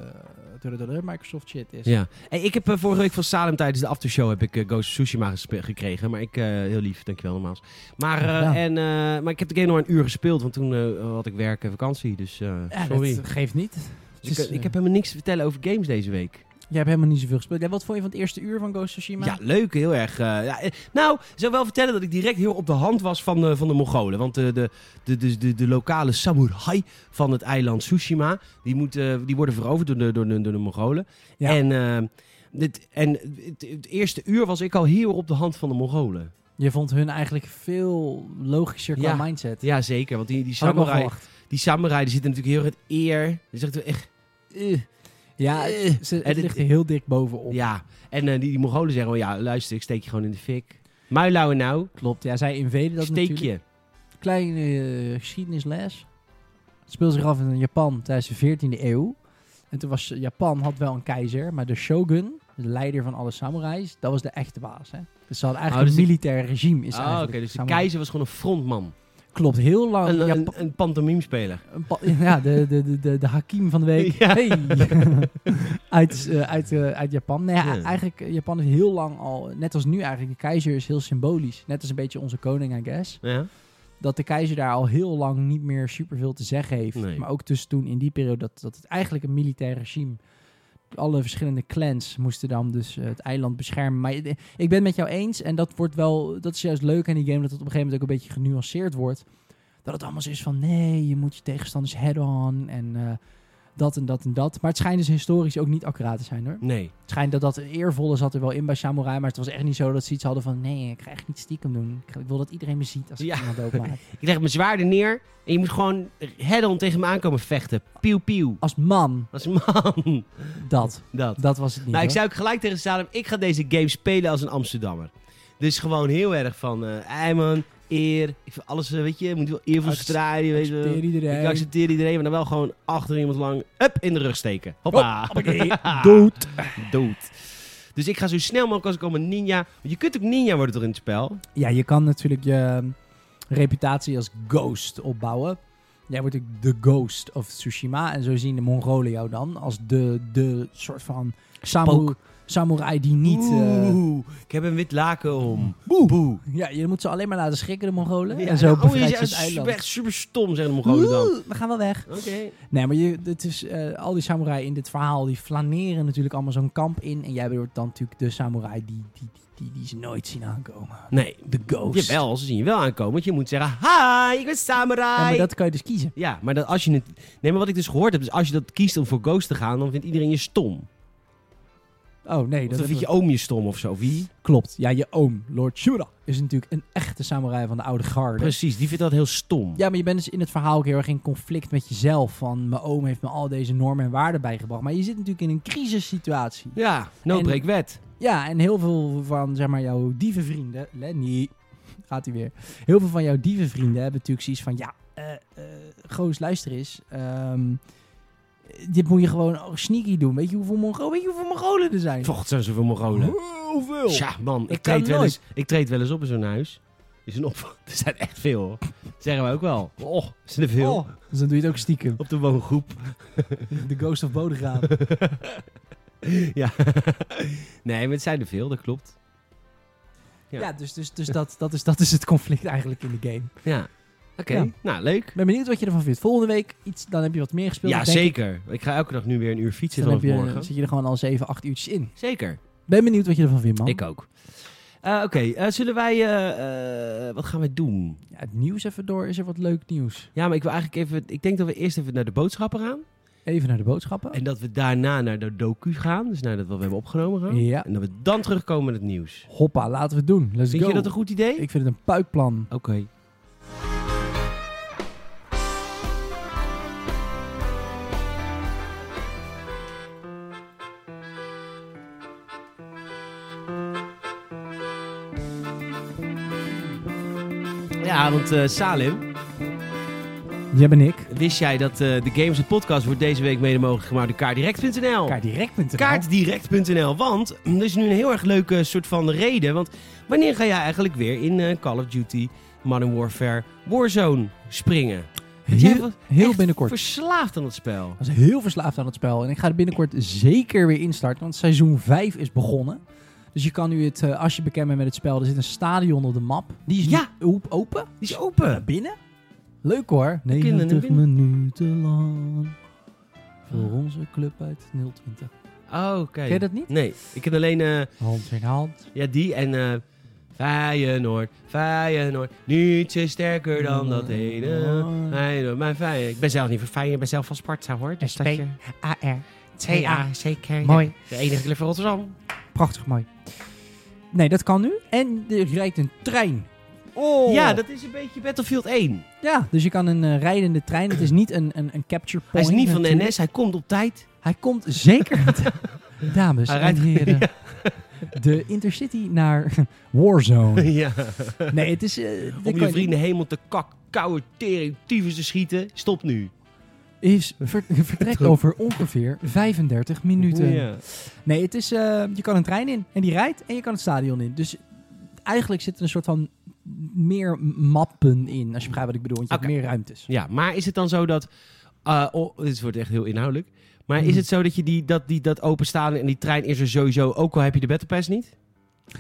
eh, de, de, de Microsoft shit is. Ja. Hey, ik heb eh, vorige week van Salem tijdens de aftershow heb ik eh, Ghost of Tsushima gespe- gekregen. Maar ik, eh, heel lief, dankjewel nogmaals. Maar, Graag eh, gedaan. en, eh, maar ik heb de game nog een uur gespeeld, want toen eh, had ik werk en vakantie. Dus eh, Ja, sorry. dat geeft niet. Dus ik, Het is, ik eh, heb helemaal niks te vertellen over games deze week. Jij hebt helemaal niet zoveel gespeeld. Ja, wat vond je van het eerste uur van Ghost of Tsushima? Ja, leuk, heel erg. eh, ja, eh, nou, ik zou wel vertellen dat ik direct heel op de hand was van, eh, van de Mongolen. Want eh, de, de, de, de, de lokale samurai van het eiland Tsushima, die, moet, eh, die worden veroverd door de, door de, door de Mongolen. Ja. En, eh, dit, en het, het eerste uur was ik al heel op de hand van de Mongolen. Je vond hun eigenlijk veel logischer qua Ja. mindset. Ja, zeker. Want die, die Had ik wel samurai, verwacht. die samurai die zitten natuurlijk heel erg in het eer. Die zegt echt... eh, Ja, Eh, het, ze- het en dit- ligt er heel dik bovenop. ja, en eh, die, die Mongolen zeggen, oh, ja, luister, ik steek je gewoon in de fik. Muilauwen nou, Klopt, ja, zij inveden dat steek natuurlijk. je. Kleine eh, geschiedenisles. Het speelt zich af in Japan tijdens de 14e eeuw. En toen was Japan had wel een keizer, maar de shogun, de leider van alle samurais, dat was de echte baas. Hè? Dus ze hadden eigenlijk Oh, dus een de- militair regime. Is Ah, oké, eigenlijk Oh, dus de samurai. keizer was gewoon een frontman. Klopt, heel lang. Een, Japa- een, een pantomimespeler. een pa- ja, de, de, de, de, de Hakim van de week. Ja. Hey. uit, eh, uit, eh, uit Japan. Nee, ja, Ja. eigenlijk, eh, Japan is heel lang al, net als nu eigenlijk, de keizer is heel symbolisch. Net als een beetje onze koning, I guess. Ja? dat de keizer daar al heel lang niet meer superveel te zeggen heeft. Nee. Maar ook tussen toen in die periode dat, dat het eigenlijk een militair regime. Alle verschillende clans moesten dan dus eh, het eiland beschermen. Maar ik- ik ben het met jou eens. En dat wordt wel. Dat is juist leuk aan die game. Dat het op een gegeven moment ook een beetje genuanceerd wordt. Dat het allemaal zo is van nee, je moet je tegenstanders head-on. En eh, dat en dat en dat. Maar het schijnt dus historisch ook niet accuraat te zijn hoor. Nee. Het schijnt dat dat eervolle zat er wel in bij samurai. Maar het was echt niet zo dat ze iets hadden van... Nee, ik ga echt niet stiekem doen. Ik, ga- ik wil dat iedereen me ziet als ik Ja. iemand doodmaak. Ik leg mijn zwaarden neer en je moet gewoon head-on tegen me aankomen vechten. Pieuw, pieuw. Als man, Als man. dat. Dat. Dat was het niet. Nou, ik hoor. zei ook gelijk tegen Salem, ik ga deze game spelen als een Amsterdammer. Dus gewoon heel erg van, eh, ei man, eer. Ik vind alles, eh, weet je, moet wel eervol Accept- straaien. Weet je wel. Accepteer iedereen. Ik accepteer iedereen, maar dan wel gewoon achter iemand lang, up, in de rug steken. Hoppa. Hoppakee. Dood. Dood. Dus ik ga zo snel mogelijk als ik kom een ninja. Want je kunt ook ninja worden toch in het spel? Ja, je kan natuurlijk je ehm, reputatie als ghost opbouwen. Jij wordt ook de ghost of Tsushima. En zo zien de Mongolen jou dan als de, de soort van samu- Spook. samurai die niet... eh, Oeh, ik heb een wit laken om. Boe. Boe. ja, je moet ze alleen maar laten schrikken, de Mongolen. Ja, en zo nou, oh, bevrijd je is het eiland. echt super stom, zeggen de Mongolen dan. Oeh, we gaan wel weg. Oké. Nee, maar je, het is, eh, al die samurai in dit verhaal, die flaneren natuurlijk allemaal zo'n kamp in. En jij wordt dan natuurlijk de samurai die, die, die, die, die ze nooit zien aankomen. Nee. De ghost. Jawel, ze zien je wel aankomen. Want je moet zeggen, hi, ik ben samurai. Ja, maar dat kan je dus kiezen. Ja, maar dat als je het... Nee, maar wat ik dus gehoord heb, is als je dat kiest om voor Ghost te gaan, dan vindt iedereen je stom. Oh nee, Of dan dat heb vindt je ik- oom je stom of zo. Wie? klopt. Ja, je oom, Lord Shura, is natuurlijk een echte samurai van de oude garde. Precies, die vindt dat heel stom. Ja, maar je bent dus in het verhaal ook heel erg in conflict met jezelf. Van mijn oom heeft me al deze normen en waarden bijgebracht. Maar je zit natuurlijk in een crisissituatie. Ja, no En- break wet. Ja, en heel veel van zeg maar, jouw dievenvrienden, Lenny, gaat hij weer. Heel veel van jouw dievenvrienden hebben natuurlijk zoiets van: ja, eh eh, goos, luister eens. ehm, dit moet je gewoon oh, sneaky doen. Weet je hoeveel Mongolen, weet je hoeveel Mongolen er zijn? Vocht zijn zoveel Mongolen. Heel veel. Tja, man, Dat ik kan treed, wel nooit. eens, ik treed wel eens op in zo'n huis. Is een op... Er zijn echt veel, hoor. Dat zeggen we ook wel. Oh, is er veel. Oh, dus dan doe je het ook stiekem. Op de woongroep. De Ghost of Bodegraven. ja. nee, maar het zijn er veel, dat klopt. ja. Ja. dus, dus, dus dat, dat, is, dat is het conflict eigenlijk in de game. Ja. Ja. nou leuk. ben benieuwd wat je ervan vindt. Volgende week iets, dan heb je wat meer gespeeld. Ja, denk ik. zeker. Ik ga elke dag nu weer een uur fietsen Dan vanaf heb je, eh, morgen. zit je er gewoon al 7, 8 uurtjes in. Zeker. Ben benieuwd wat je ervan vindt, man. Ik ook. Eh, Oké, eh, zullen wij... eh, eh, wat gaan we doen? Ja, het nieuws even door. Is er wat leuk nieuws? Ja, maar ik wil eigenlijk even... Ik denk dat we eerst even naar de boodschappen gaan. Even naar de boodschappen. En dat we daarna naar de docu gaan. Dus naar dat wat we hebben opgenomen gaan. Ja. En dat we dan terugkomen met het nieuws. Hoppa, laten we het doen. Let's Vind go. je dat een goed idee? Ik vind het een puikplan. Oké. Ja, want eh, Salim, Jij ben ik. wist jij dat eh, de Games en Podcast wordt deze week mede mogelijk gemaakt door kaardirect.nl? Kaartdirect.nl. Kaartdirect.nl, want mm, er is nu een heel erg leuke soort van reden. Want wanneer ga jij eigenlijk weer in eh, Call of Duty, Modern Warfare, Warzone springen? Want jij Heel, was heel echt binnenkort. Verslaafd aan het spel. Ik was heel verslaafd aan het spel. En ik ga er binnenkort zeker weer instarten. Want seizoen 5 is begonnen. Dus je kan nu het, eh, als je bekend bent met het spel, er zit een stadion op de map. Die is Ja. nu op- open. Die is open. Naar binnen. Leuk hoor. kinderen naar 90 minuten lang. Voor onze club uit 020. Oh, oké. Ken je dat niet? Nee, ik ken alleen eh, Hand in hand. ja, die en eh Feyenoord, Feyenoord. Niets is sterker dan dat ene. Feyenoord, mijn Feyenoord. Ik ben zelf niet van Feyenoord, ik ben zelf van Sparta hoor. Dus dat je... A-R. T-A-C-K. Mooi. De enige club van Rotterdam. Prachtig mooi. Nee, dat kan nu. En er rijdt een trein. Oh. Ja, dat is een beetje Battlefield 1. Ja, dus je kan een eh, rijdende trein. Het is niet een, een, een capture Hij point. is niet van de natuurlijk. NS, hij komt op tijd. Hij komt zeker. Dames Hij en rijdt- heren. De Intercity naar Warzone. ja. Nee, het is... eh, dat Om kan- je vrienden helemaal te kak, koude tering, tyfus te schieten. Stop nu. Is ver- vertrekt over ongeveer 35 minuten. Ja. Nee, het is, eh, je kan een trein in en die rijdt en je kan het stadion in. Dus eigenlijk zit er een soort van meer mappen in, als je begrijpt wat ik bedoel. Want je hebt Oké. meer ruimtes. ja, maar is het dan zo dat... eh, oh, dit wordt echt heel inhoudelijk. Maar Mm. is het zo dat je die, dat, die, dat openstaan en die trein is er sowieso... Ook al heb je de Battle Pass niet?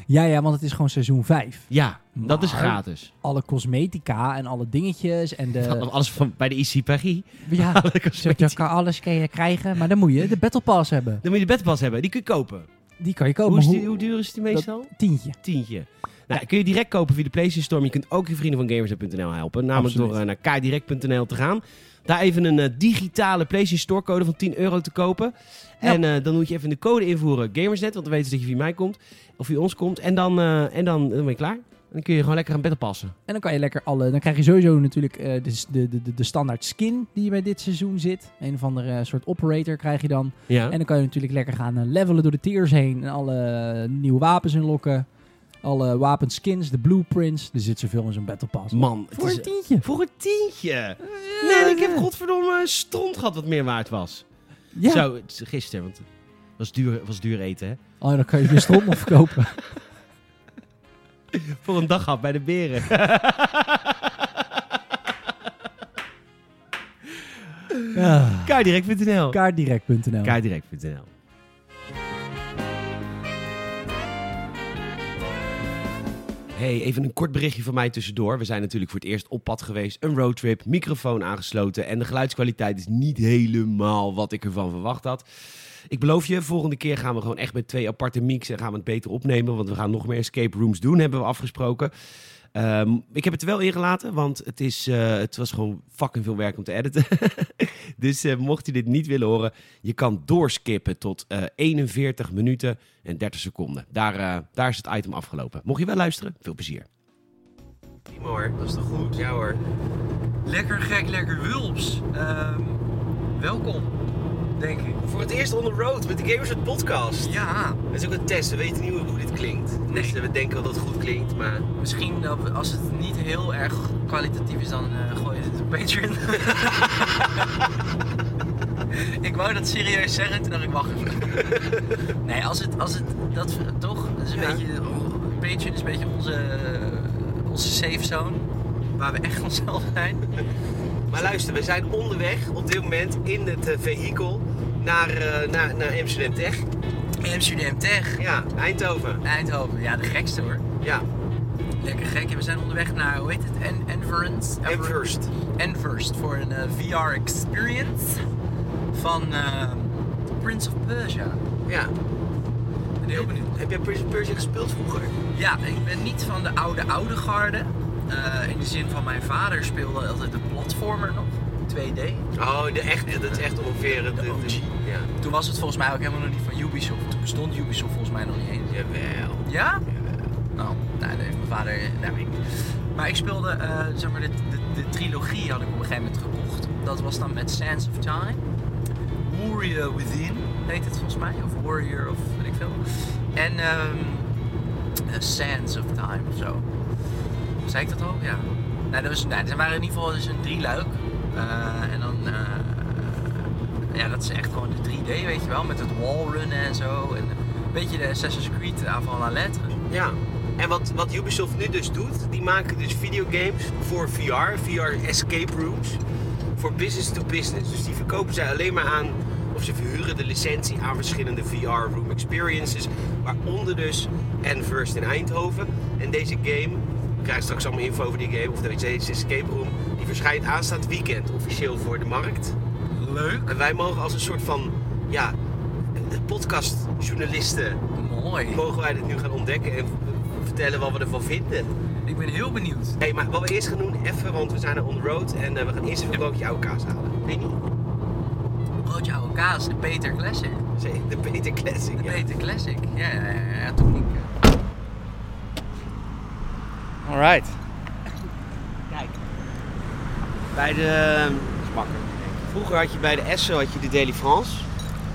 Ja, ja, want het is gewoon seizoen 5. Ja, dat is Maar- gratis. Alle cosmetica en alle dingetjes en de... Alles van, bij de IC Paris. ja, zodat je eh, kan alles kan je krijgen, maar dan moet je de Battle Pass hebben. Dan moet je de Battle Pass hebben. Die kun je kopen. Die kan je kopen. hoe, is Oh, maar die- hoe duur is die meestal? Tientje. tientje. Nou, kun je direct kopen via de PlayStation Store. maar Je kunt ook je vrienden van Gamers.nl helpen. Namelijk Absoluut. door eh, naar kaardirect.nl te gaan. Daar even een eh, digitale PlayStation Store code van 10 euro te kopen. Ja. En eh, dan moet je even de code invoeren Gamersnet. Want dan weten ze dat je via mij komt. Of via ons komt. En dan, eh, en dan, dan ben je klaar. En dan kun je gewoon lekker gaan bedden passen. En dan kan je lekker alle... Dan krijg je sowieso natuurlijk eh, de, de, de, de standaard skin die bij dit seizoen zit. Een of andere eh, soort operator krijg je dan. Ja. En dan kan je natuurlijk lekker gaan eh, levelen door de tiers heen. En alle eh, nieuwe wapens inlokken. Alle wapenskins, de blueprints. Er zit zoveel in zo'n battle pass. Man, het Voor is- een tientje. voor een tientje. nee, ik heb godverdomme stront gehad wat meer waard was. Ja. Zo, het is gisteren. Want het was duur, was duur eten, hè. Oh, dan kan je weer stroom nog verkopen. Voor een dag af bij de beren. Ja. Kaardirect.nl. Kaartdirect.nl. Kaardirect.nl. Hey, even een kort berichtje van mij tussendoor. We zijn natuurlijk voor het eerst op pad geweest. Een roadtrip, microfoon aangesloten. En de geluidskwaliteit is niet helemaal wat ik ervan verwacht had. Ik beloof je, volgende keer gaan we gewoon echt met twee aparte mics en gaan we het beter opnemen. Want we gaan nog meer escape rooms doen, hebben we afgesproken. Ehm, ik heb het er wel ingelaten, want het, is, eh, het was gewoon fucking veel werk om te editen. dus eh, mocht je dit niet willen horen, je kan doorskippen tot eh, 41 minuten en 30 seconden. Daar, eh, daar is het item afgelopen. Mocht je wel luisteren, veel plezier. Prima hoor, dat is toch goed? Ja hoor. Lekker gek, lekker wulps. Ehm, welkom, denk ik. Voor het eerst on the road met de Gamers podcast. Ja, Het is ook een test, we weten niet hoe hoe dit klinkt. Dus we denken wel dat het goed klinkt, maar... misschien dat we- als het niet heel erg kwalitatief is, dan eh gooi je het op Patreon. ik wou dat serieus zeggen, toen dacht ik, wacht even. nee, als het, als het, dat we- toch, dat is een Ja. beetje, oh, Patreon is een beetje onze, eh, onze safe zone, waar we echt onszelf zijn. Maar luister, we zijn onderweg op dit moment in het eh, vehikel naar, eh, naar, naar Amsterdam Tech. Amsterdam Tech, Ja, Eindhoven. Eindhoven, ja de gekste hoor. Ja. lekker gek. En we zijn onderweg naar, hoe heet het? En Enverance? En first. Enverst voor een eh, VR experience van eh, Prince of Persia. Ja. Ik ben heel benieuwd. Heb jij Prince of Persia gespeeld vroeger? Ja, ik ben niet van de oude oude garde. Eh, in de zin van mijn vader speelde altijd de platformer nog, 2D. Oh, de echt, dat is echt ongeveer het... De het- OG. Ja. Toen was het volgens mij ook helemaal nog niet van Ubisoft. Toen bestond Ubisoft volgens mij nog niet eens. Jawel. Ja? Jawel. Nou, nou dat heeft mijn vader. Nou, weet ik niet. Maar ik speelde, eh, zeg maar, de, de, de trilogie had ik op een gegeven moment gekocht. Dat was dan met Sands of Time. Warrior Within heet het volgens mij. Of Warrior of weet ik veel. En ehm eh, Sands of Time of zo. Zei ik dat al? Ja. Nou, dat was, nou, er waren in ieder geval dus een drieluik. Eh, en dan, eh, ja, dat is echt gewoon de 3D, weet je wel. Met het wallrunnen en zo. En een beetje de Assassin's Creed avant la lettre. Ja. En wat, wat Ubisoft nu dus doet, die maken dus videogames voor VR, VR escape rooms, voor business to business. Dus die verkopen zij alleen maar aan, of ze verhuren de licentie aan verschillende VR room experiences, waaronder dus First in Eindhoven. En deze game, ik krijg straks allemaal info over die game, of deze escape room, die verschijnt aanstaand weekend officieel voor de markt. Leuk. En wij mogen als een soort van, ja, podcastjournalisten, Mooi. mogen wij dit nu gaan ontdekken en vertellen wat we ervan vinden. Ik ben heel benieuwd. Hé, maar wat we eerst gaan doen, even, want we zijn er on the road en eh, we gaan eerst even een broodje oude kaas halen. Weet je niet? Broodje oude kaas, de Peter Classic. Zee- De Peter Classic. De ja. Peter Classic. Ja, ja, ja, ja, toch niet. Alright. Kijk. Bij de. ehm, Vroeger had je bij de Esso had je de Daily France.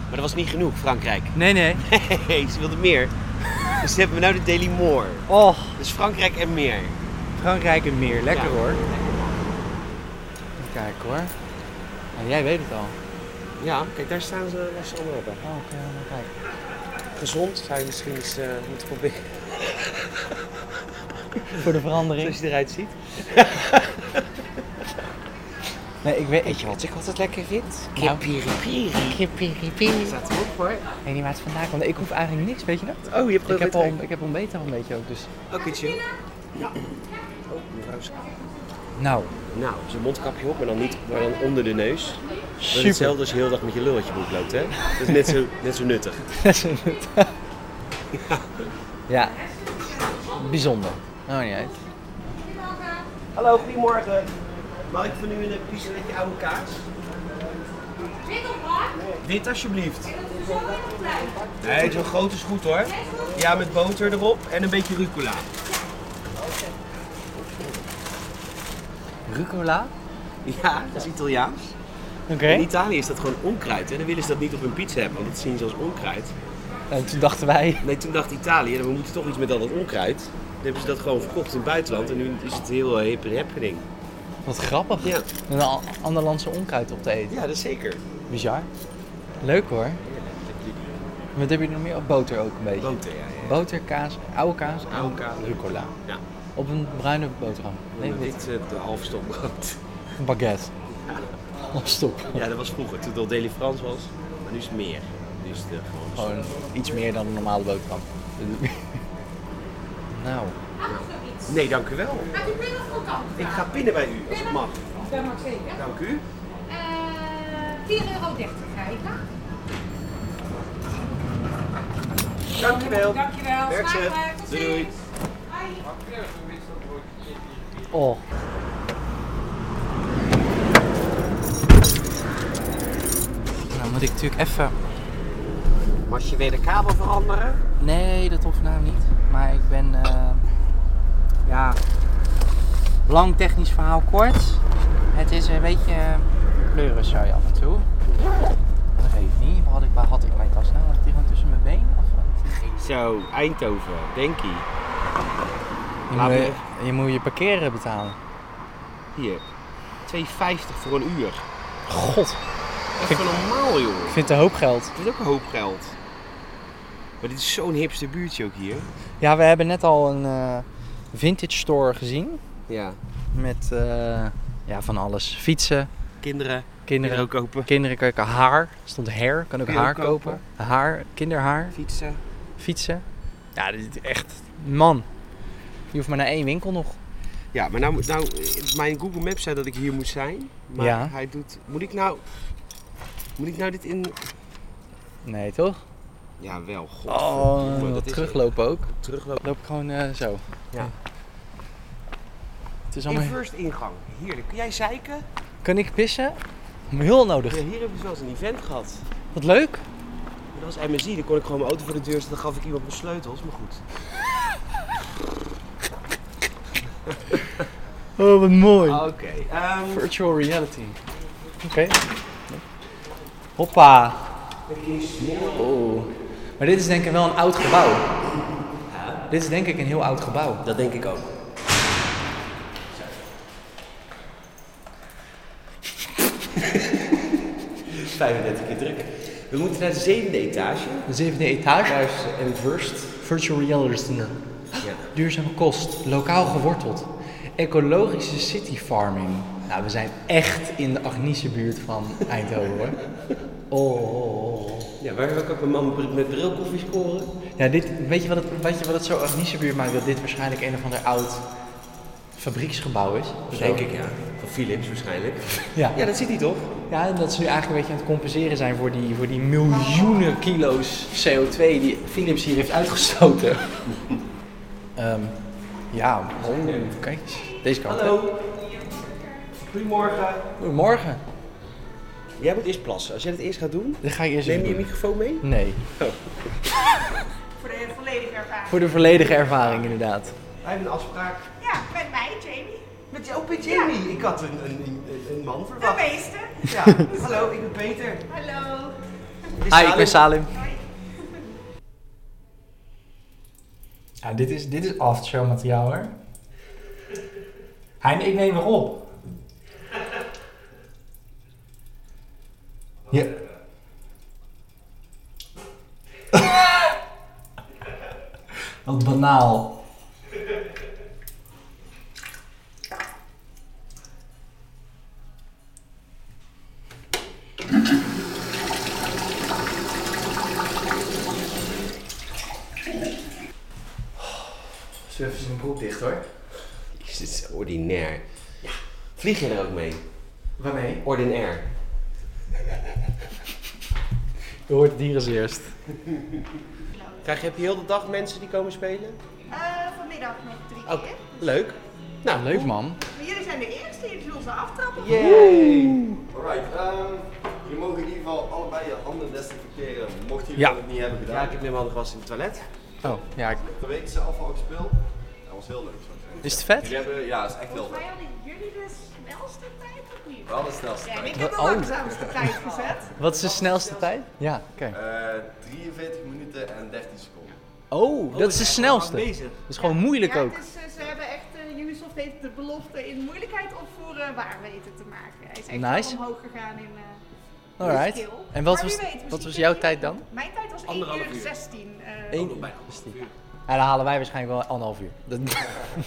Maar dat was niet genoeg, Frankrijk. Nee, nee. Nee, ze wilden meer. Dus ze hebben nu de Daily Moor. Oh, Dus Frankrijk en meer. Frankrijk en meer. Lekker Ja. hoor. Even kijken hoor. Nou, jij weet het al. Ja, kijk, daar staan ze, daar ze allemaal hebben. Oh, oké. kijk. Gezond zou je misschien eens eh, moeten proberen. Voor de verandering. Zoals je eruit ziet. Nee, ik weet, ik, je wat ik altijd lekker vind? Nou. Kipiripiri. Staat er ook voor. weet niet waar het vandaan komt. Ik hoef eigenlijk niks, weet je dat? Oh, je Oh, hebt Ik heb, al, ik heb ontbeten al een beetje ook, dus... Oké, chill. Oh, mevrouw Schaap. Nou, Nou, zijn mondkapje op, maar dan, niet, maar dan onder de neus. Dat is super. hetzelfde als je heel dag met je lul uit je broek loopt, hè? Dat is net zo, net zo nuttig. ja. Bijzonder. Nou, niet uit. Hallo, goedemorgen. Mag ik van u een pizzetje oude kaas? Dit alsjeblieft. Nee, zo'n groot is goed hoor. Ja, met boter erop en een beetje rucola. Rucola? Ja, dat is Italiaans. Oké. In Italië is dat gewoon onkruid. En dan willen ze dat niet op hun pizza hebben, want dat zien ze als onkruid. En toen dachten wij... Nee, toen dacht Italië, we moeten toch iets met al dat onkruid. Toen hebben ze dat gewoon verkocht in het buitenland en nu is het heel eh, hip en happening. Wat grappig. Ja. Een a- ander landse onkruid op te eten. Ja, dat is zeker. Bizar. Leuk hoor. Wat heb je er nog meer? op? Boter ook een beetje. Boter, eh, ja. ja. Boter, kaas, oude kaas en Oude kaas. rucola. Ja. Op een bruine boterham. Nee, En wit. dit eh, de halve stop brood. Een baguette. Of Oh, stop. Ja, dat was vroeger, toen het al Deli Frans was. Maar nu is het meer. Nu is het eh, gewoon een Gewoon iets meer dan een normale boterham. nou, soort- Nee, dank u wel. Ik ga pinnen bij u, als het mag. Dat mag zeker. Dank u. Eh 4,30 euro ga ik aan. Dank u wel. Dankjewel. Werk ze. Smakelijk. Tot Doei, doei. ziens. Hoi. oh. Nou moet ik natuurlijk even... Mag je weer de kabel veranderen? Nee, dat hoeft nou niet. Maar ik ben... eh, ja... Lang technisch verhaal kort. Het is een beetje eh, pleuren zou je af en toe. Dat geeft niet. Waar had ik, waar had ik mijn tas nou? Had ik die gewoon tussen mijn been? Of wat? Zo, Eindhoven, denk je. Je, Laat moet, me- je- je moet je parkeren betalen. Hier, 2,50 voor een uur. God, Dat is gewoon normaal, joh. ik vind het een hoop geld. Dit is ook een hoop geld. Maar dit is zo'n hipste buurtje ook hier. Ja, we hebben net al een eh, vintage store gezien. Ja. Met eh, ja, van alles. Fietsen, Kinderen. kinderen. Kinderen kopen. Kinderen kan ik haar, stond hair, kan ook Kun je ook haar kopen. Haar, kinderhaar, Fietsen. fietsen. Ja, dit is echt, man. Je hoeft maar naar één winkel nog. Ja, maar nou, moet- nou, eh, mijn Google Maps zei dat ik hier moet zijn. Maar Ja. hij doet... Moet ik nou... Moet ik nou dit in... Nee, toch? Ja, wel. God, Oh, teruglopen ook. Teruglopen. Loop ik gewoon eh, zo. Ja. Het is allemaal... In first ingang. Heerlijk. Kun jij zeiken? Kan ik pissen? Heel Ja, nodig. hier hebben ze wel eens een event gehad. Wat leuk. Dat was MSI, dan kon ik gewoon mijn auto voor de deur zetten. Dan gaf ik iemand mijn sleutels, maar goed. Oh, wat mooi. Oké. ehm, Virtual reality. Oké. Hoppa. Oh. Maar dit is denk ik wel een oud gebouw. Dit is denk ik een heel oud gebouw. dat denk ik ook. ...35 keer druk. We moeten naar de zevende etage. De zevende etage. Daar is eh, een first. Virtual reality. Ja. Duurzame kost. Lokaal geworteld. Ecologische city farming. Nou, we zijn echt in de Agnische buurt van Eindhoven hoor. Oh, oh, oh. Ja, waar wil ik ook een man met bril koffie scoren? Ja, dit, weet, je wat het, weet je wat het zo Agnische buurt maakt? Dat dit waarschijnlijk een of ander oud fabrieksgebouw is. Dat denk ik, ja. Van Philips waarschijnlijk. Ja. Ja, dat ziet hij toch? Ja, en dat ze nu eigenlijk een beetje aan het compenseren zijn voor die, voor die miljoenen kilo's CO2 die Philips hier heeft uitgestoten. Ehm, ja, oh, kijk eens. Deze kant. hè. Hallo. Goedemorgen. Goedemorgen. Jij moet eerst plassen. Als jij dat eerst gaat doen, Dan ga ik eerst neem even je Oh. je doen. microfoon mee? Nee. Voor de volledige ervaring. Voor de volledige ervaring inderdaad. Wij hebben een afspraak. Ja, met mij, Jamie. Met jou, met Jamie. Ik had een, een, een, een man De verwacht. meester. Ja. Hallo, ik ben Peter. Hallo. Hi, ik ben Salim. Hoi. Ja, dit is, dit is aftershow materiaal hoor. Hij en ik nemen op. Ja. Wat banaal. Zullen even zijn broek dicht hoor. Is dit zo ordinair? Ja. Vlieg je er ook mee? Waarmee? Ordinair. Je hoort het hier als eerst. Krijg je, heb je heel de dag mensen die komen spelen? Eh, vanmiddag nog drie Oh, keer. leuk. Nou, leuk man. Maar jullie zijn de eerste die het losse aftrappen. Yay. Alright, ehm, jullie mogen in ieder geval allebei je handen desinfecteren, mochten jullie Ja. dat niet hebben Ja, gedaan. ik heb helemaal was in het toilet. Oh, ja. ik- De weekse afval gespeeld, dat was heel leuk zo te zeggen. Is het vet? Jullie hebben, ja, is echt heel Volgens mij leuk. hadden jullie de snelste tijd of niet? Wel de snelste Ja, en ik tijd. heb de Oh. langzaamste tijd gezet. Wat is de snelste tijd? Ja, oké. Eh, 43 minuten en 13 seconden. Oh, dat is de snelste. Dat Bezig. is gewoon moeilijk ja, ook. het is, eh, ze hebben echt, eh Ubisoft heeft de belofte in moeilijkheid of voor eh, waar weten te maken. Hij is echt Nice. wel omhoog gegaan in, eh, Alright. Skill. En wat Maar was, wie weet, misschien wat was kun jouw je- tijd dan? Mijn tijd was 1 Anderhalf uur uur. 16. eh, Eén Nog bijna. Ja, dan halen wij waarschijnlijk wel anderhalf uur. Dat- Wie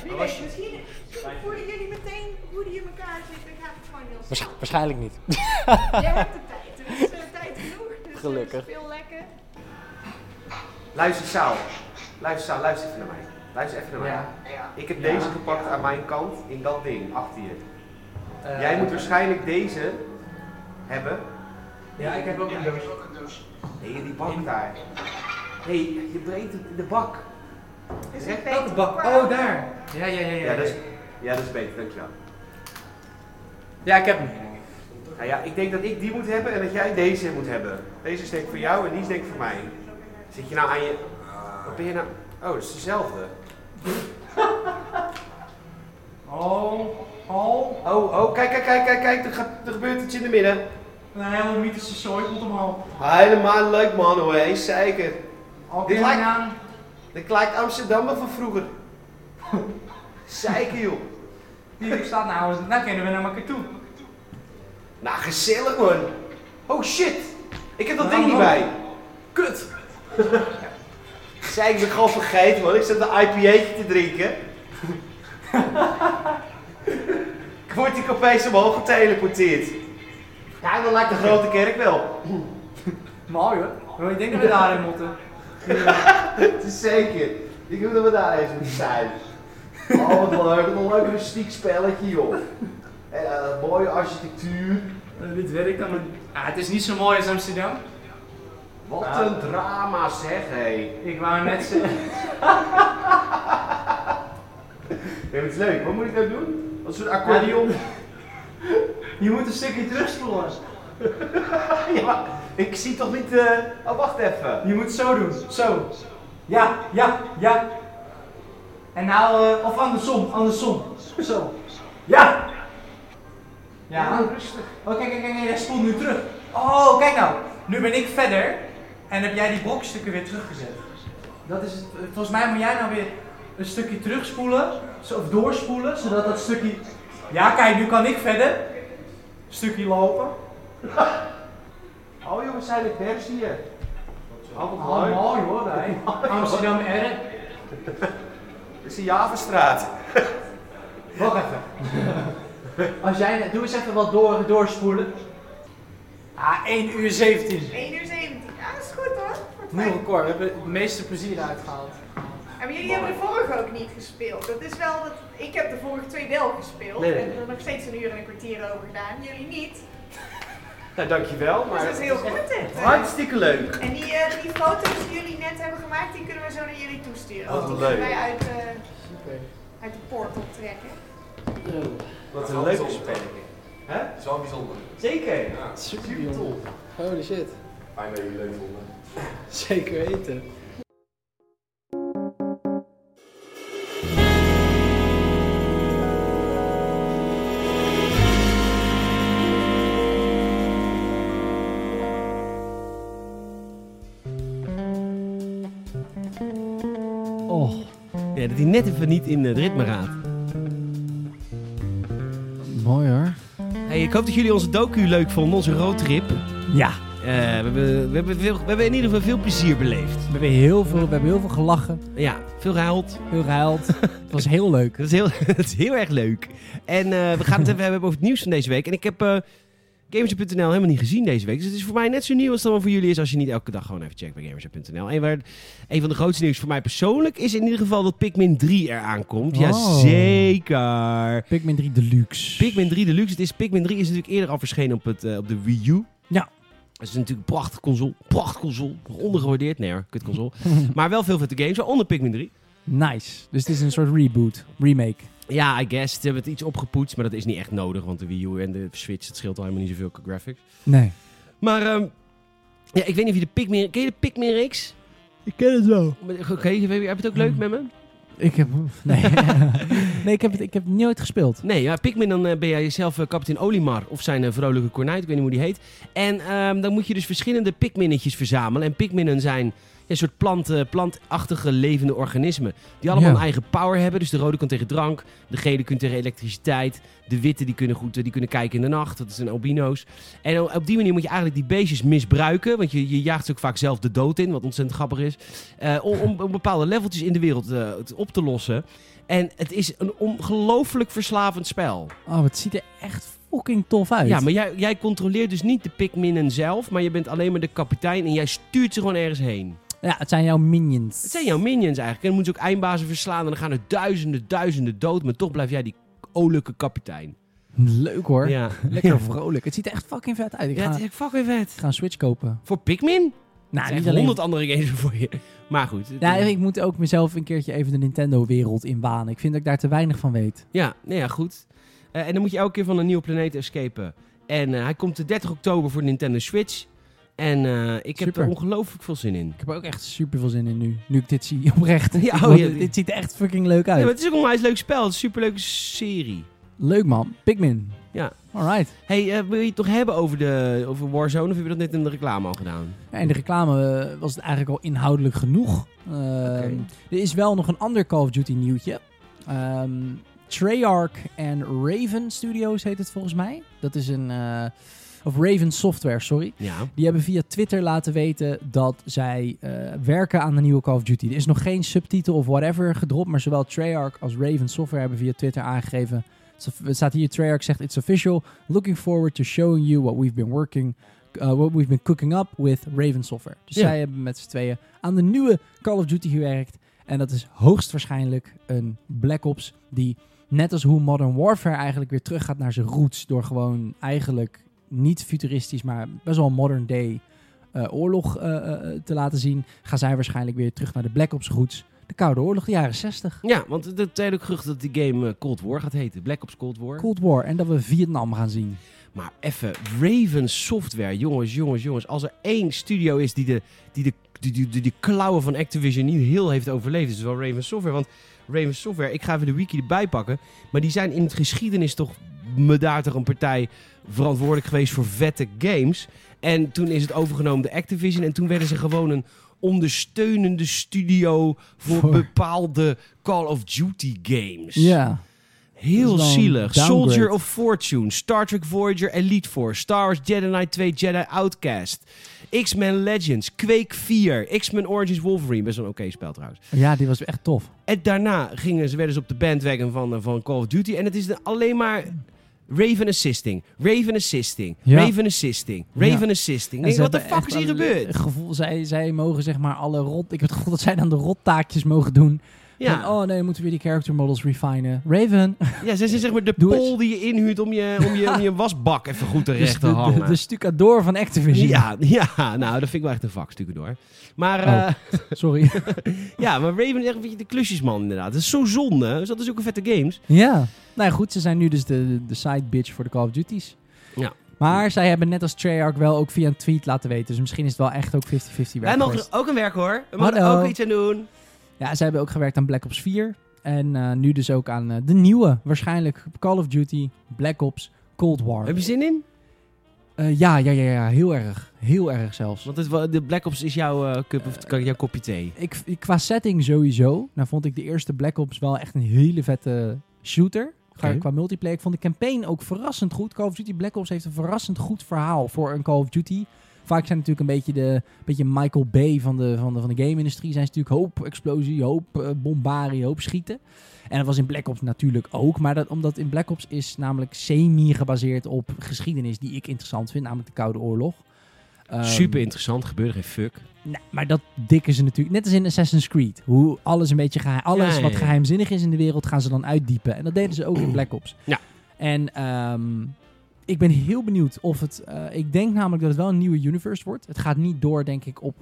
weet, misschien voelen jullie meteen hoe die in elkaar zitten. Gaat het gewoon heel snel. waarschijnlijk niet. Jij hebt de tijd. Er is eh, tijd genoeg. Dus Gelukkig. Veel lekker. Luister Saal. Luister Saal, luister even naar mij. Luister even naar mij. Ja. Ik heb deze gepakt aan mijn kant in dat ding achter je. Jij moet waarschijnlijk deze hebben. Ja, ik heb ook een doos. Nee, die bak daar. Hé, hey, je breekt het in de bak. Dus Zeg, ik weet de bak. waar- Oh, daar. Ja, ja, ja, ja. Ja, dat is, Ja, ja, dat is beter, dankjewel. ja ik heb hem. Nou ja, ik denk dat ik die moet hebben en dat jij deze moet hebben. Deze is denk ik voor jou en die is denk ik voor mij. Zit je nou aan je... Wat ben je nou... Oh, dat is dezelfde. Oh, oh. Oh, oh, kijk, kijk, kijk, kijk, kijk, er, gaat- er gebeurt iets in de midden. Een hele mythische zooi komt omhoog. Helemaal leuk man hoor, hé, zeker. Dit lijkt- aan. Dat lijkt Amsterdam van vroeger. Zeker joh. Hier staat nou, nou kunnen we naar elkaar toe. Nou, gezellig man. Oh shit, ik heb dat Nou, ding niet man. bij. Kut. Zij, ik ben gewoon vergeten man, ik zat een IPA'tje te drinken. Ik Word ik opeens omhoog geteleporteerd. Ja, dan lijkt de grote kerk wel. Mooi hoor. Maar Oh, ik denk dat we daarin moeten. Het is zeker. Ik moet dat we daar eens moeten zijn. Oh, wat leuk, wat een leuk rustiek spelletje, joh. En, eh, mooie architectuur. Eh, Dit werk kan het. Ah, het is niet zo mooi als Amsterdam. Wat een drama, zeg, hé. Ik wou net zeggen. Nee, maar het is leuk. Wat moet ik nou doen? Wat soort accordeon? Je moet een stukje terugspoelen. Ja, maar ik zie toch niet... eh, Oh, wacht even. Je moet het zo doen. Zo. Ja, ja, ja. En nou, eh, of andersom, andersom. Zo. Ja! Ja. Rustig. Oh, kijk, kijk, kijk, kijk, hij spoelt nu terug. Oh, kijk nou. Nu ben ik verder. En heb jij die brokstukken weer teruggezet. Dat is het. Volgens mij moet jij nou weer een stukje terugspoelen. zo- Of doorspoelen, zodat dat stukje... Ja, kijk, nu kan ik verder. Stukje lopen. Oh, jongens, zijn ik vers hier. Oh, wat Oh, leuk. mooi hoor, wij. Amsterdam Erk. Dit is de Javastraat. Wacht even. Als jij, doe eens even wat door, doorspoelen. Ah, 1 uur 17. 1 uur 17. Ja, dat is goed hoor. Wordt Nieuw fijn. record, we hebben het meeste plezier uitgehaald. Ja, maar jullie hebben de vorige ook niet gespeeld. Dat is wel dat, ik heb de vorige twee wel gespeeld. Nee, nee, En er nog steeds een uur en een kwartier over gedaan. Jullie niet. Nou, dankjewel. Dus dat Maar is heel goed dit. hartstikke leuk. En die, eh, die foto's die jullie net hebben gemaakt, die kunnen we zo naar jullie toesturen. Oh, wat die leuk. kunnen wij uit, eh, uit de poort optrekken. Wat een leuk spelletje. Hè? Het is wel bijzonder. Zeker. Ja, Super tof. Holy shit. fijn dat jullie het leuk vonden. Zeker weten. Oh, Ja, dat hij net even niet in het ritme raadt. mooi hoor. Hey, ik hoop dat jullie onze docu leuk vonden, onze roadtrip. Ja, Eh, we, hebben, we, hebben veel- we hebben in ieder geval veel plezier beleefd. we hebben heel veel, we hebben heel veel gelachen, Ja, veel gehuild. heel gehuild. het was heel leuk. Dat is heel, dat is heel erg leuk. En eh, we gaan het even hebben over het nieuws van deze week. En ik heb eh Gamershop.nl helemaal niet gezien deze week. Dus het is voor mij net zo nieuw als het dan voor jullie is... als je niet elke dag gewoon even checkt bij Gamershop.nl. En waar, een van de grootste nieuws voor mij persoonlijk... is in ieder geval dat Pikmin 3 eraan komt. Oh. Jazeker. Pikmin 3 Deluxe. Pikmin 3 Deluxe. Het is, Pikmin 3 is natuurlijk eerder al verschenen op, het, eh, op de Wii U. Ja. Dat is natuurlijk een prachtig console. Prachtig console. Nog Ondergewaardeerd. Nee hoor, kut console. maar wel veel vette games, waaronder Pikmin 3. Nice. Dus het is een soort reboot, remake. Ja, I guess. Ze hebben het iets opgepoetst, maar dat is niet echt nodig. Want de Wii U en de Switch, het scheelt al helemaal niet zoveel qua graphics. Nee. Maar ehm, ja, ik weet niet of je de Pikmin... Ken je de Pikmin Reeks? Ik ken het wel. Maar, Oké, heb je het ook leuk met me? Ik heb... Nee, nee ik, heb het, ik heb het nooit gespeeld. Nee, ja, Pikmin, dan eh, ben jij zelf eh, kapitein Olimar of zijn eh, vrolijke kornuit, ik weet niet hoe die heet. En ehm, dan moet je dus verschillende pikminnetjes verzamelen. En pikminnen zijn ja, een soort plant, eh, plantachtige levende organismen. Die allemaal Ja. een eigen power hebben. Dus de rode kan tegen drank, de gele kunt tegen elektriciteit. De witte die kunnen, goed, eh, die kunnen kijken in de nacht, dat zijn albino's. En op die manier moet je eigenlijk die beestjes misbruiken. Want je, je jaagt ze ook vaak zelf de dood in, wat ontzettend grappig is. eh, om, om- om bepaalde leveltjes in de wereld eh, te- op te lossen. En het is een ongelooflijk verslavend spel. Oh, het ziet er echt fucking tof uit. Ja, maar jij, jij controleert dus niet de Pikminnen zelf, maar je bent alleen maar de kapitein en jij stuurt ze gewoon ergens heen. Ja, het zijn jouw minions. Het zijn jouw minions eigenlijk. En dan moeten ze ook eindbazen verslaan en dan gaan er duizenden, duizenden dood, maar toch blijf jij die olijke kapitein. Leuk hoor. Ja, Lekker vrolijk. Het ziet er echt fucking vet uit. Ik ja ga, het is echt fucking vet. ik ga een Switch kopen. Voor Pikmin? Nou, Er niet zijn alleen... honderd andere games voor je. Maar goed. het- Ja, ik moet ook mezelf een keertje even de Nintendo-wereld inbanen. Ik vind dat ik daar te weinig van weet. Ja, nou ja, goed. Eh, en dan moet je elke keer van een nieuwe planeet escapen. En eh, hij komt de 30 oktober voor de Nintendo Switch. En eh, ik heb Super. er ongelooflijk veel zin in. Ik heb er ook echt super veel zin in nu. Nu ik dit zie, oprecht. Ja, oh Want ja, dit, dit ziet er echt fucking leuk uit. Ja, maar het is ook een onwijs leuk spel. Het is een superleuke serie. Leuk man. Pikmin. Ja. Alright. Hey, eh, wil je het nog hebben over, de, over Warzone? Of heb je dat net in de reclame al gedaan? Ja, in de reclame eh, was het eigenlijk al inhoudelijk genoeg. Ehm, Er is wel nog een ander Call of Duty nieuwtje. Ehm, Treyarch en Raven Studios heet het volgens mij. Dat is een... eh, of Raven Software, sorry. Ja. Die hebben via Twitter laten weten dat zij eh, werken aan de nieuwe Call of Duty. Er is nog geen subtitel of whatever gedropt, maar zowel Treyarch als Raven Software hebben via Twitter aangegeven. Het staat hier, Treyarch zegt, it's official. Looking forward to showing you what we've been working, uh, what we've been cooking up with Raven Software. Dus Ja. zij hebben met z'n tweeën aan de nieuwe Call of Duty gewerkt. En dat is hoogstwaarschijnlijk een Black Ops die, net als hoe Modern Warfare eigenlijk weer teruggaat naar zijn roots, door gewoon eigenlijk niet futuristisch, maar best wel modern day eh, oorlog eh, eh, eh, te laten zien, gaan zij waarschijnlijk weer terug naar de Black Ops roots. De Koude Oorlog, de jaren 60. Ja, want er zijn tijdelijk gerucht dat die game eh, Cold War gaat heten. Black Ops Cold War. Cold War. En dat we Vietnam gaan zien. Maar even, Raven Software, jongens, jongens, jongens. Als er één studio is die de, die de, die, die, die, die klauwen van Activision niet heel heeft overleefd, is het wel Raven Software. Want Raven Software, ik ga even de wiki erbij pakken. Maar die zijn in het geschiedenis toch medaartig een partij verantwoordelijk geweest voor vette games. En toen is het overgenomen de Activision. En toen werden ze gewoon een ondersteunende studio voor, Voor- bepaalde Call of Duty games. Ja. Heel Dat is wel een zielig. downgrade. Soldier of Fortune, Star Trek Voyager, Elite Force, Star Wars Jedi Knight 2, Jedi Outcast, X-Men Legends, Quake 4, X-Men Origins Wolverine. Best wel een oké spel trouwens. Ja, die was echt tof. En daarna gingen ze, werden ze op de bandwagon van, eh, van Call of Duty. En het is de- alleen maar Raven Assisting, Raven Assisting, Ja. Raven Assisting, Raven Ja. Assisting. En Denk, ze wat de hebben fuck is echt hier een gebeurd? Gevoel, zij, zij mogen zeg maar alle rot... Ik heb het gevoel dat zij dan de rottaakjes mogen doen. Ja, Van, oh nee, dan moeten we weer die character models refinen. Raven. ja ze zijn zeg maar de Doe pol die je inhuurt om je, om je, om je wasbak even goed Dus terecht te de, de, hangen. de stucador van Activision. Ja, ja, nou, dat vind ik wel echt een vak, door. Maar Oh. eh, Sorry. ja, maar Raven is echt een beetje de klusjesman, inderdaad. Dat is zo zonde. Dus dat is ook een vette games. ja. Nou ja, goed, ze zijn nu dus de, de side bitch voor de Call of Duties. Ja. Maar zij hebben net als Treyarch wel ook via een tweet laten weten. Dus misschien is het wel echt ook 50-50 Wij werk mogen geweest. er ook een werk hoor. We mogen er Hallo. ook iets aan doen. Ja, zij hebben ook gewerkt aan Black Ops 4. En eh, nu dus ook aan eh, de nieuwe, waarschijnlijk Call of Duty, Black Ops, Cold War. Heb je zin in? Eh, ja, ja, ja, ja, heel erg. Heel erg zelfs. Want het, wa- de Black Ops is jouw eh, cup of kan- jouw kopje thee. Ik, ik- qua setting sowieso. Nou vond ik de eerste Black Ops wel echt een hele vette shooter. Qua- Oké. Qua multiplayer. Ik vond de campaign ook verrassend goed. Call of Duty Black Ops heeft een verrassend goed verhaal voor een Call of Duty. Vaak zijn natuurlijk een beetje de beetje Michael Bay van de, van de, van de game-industrie. Zijn ze natuurlijk hoop explosie, hoop eh, bombarie, hoop schieten. En dat was in Black Ops natuurlijk ook. Maar dat, omdat in Black Ops is namelijk semi-gebaseerd op geschiedenis die ik interessant vind. Namelijk de Koude Oorlog. Ehm, Super interessant, gebeurde geen fuck. nou, maar dat dikken ze natuurlijk. Net als in Assassin's Creed. Hoe alles een beetje geheim. Alles Ja, ja, wat ja. geheimzinnig is in de wereld gaan ze dan uitdiepen. En dat deden ze ook in Black Ops. Ja. En ehm, ik ben heel benieuwd of het. eh, ik denk namelijk dat het wel een nieuwe universe wordt. Het gaat niet door, denk ik, op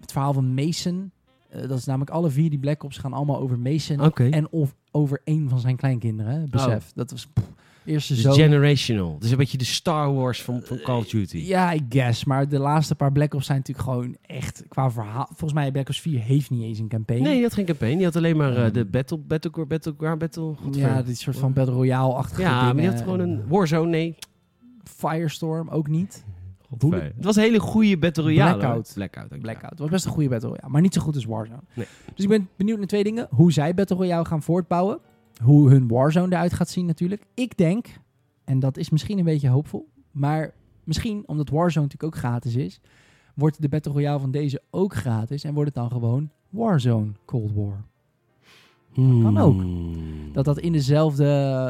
het verhaal van Mason. Eh, dat is namelijk alle vier die Black Ops gaan allemaal over Mason. Oké. En of over één van zijn kleinkinderen. hè. Besef. Dat was. pff, eerste Oh. Dus zoon. generational. Dus een beetje de Star Wars van, van Call of Duty. Eh, Ja, I guess. Maar de laatste paar Black Ops zijn natuurlijk gewoon echt qua verhaal. Volgens mij Black Ops 4 heeft niet eens een campaign. Nee, die had geen campaign. Die had alleen maar eh, Ehm. de Battle, Battlecore, Battleground, Battle... Godver. ja, dit soort van Battle Royale-achtige ja maar dingen. eh, die had gewoon een Warzone, nee. Firestorm ook niet. Godver. Het was een hele goede Battle Royale. hoor. Blackout. Blackout. dankjewel. Blackout. Het was best een goede Battle Royale, maar niet zo goed als Warzone. Nee. Dus ik ben benieuwd naar twee dingen. Hoe zij Battle Royale gaan voortbouwen. Hoe hun Warzone eruit gaat zien natuurlijk. Ik denk, en dat is misschien een beetje hoopvol, maar misschien omdat Warzone natuurlijk ook gratis is, wordt de Battle Royale van deze ook gratis en wordt het dan gewoon Warzone Cold War. kan ook. Hmm. Dat dat in dezelfde,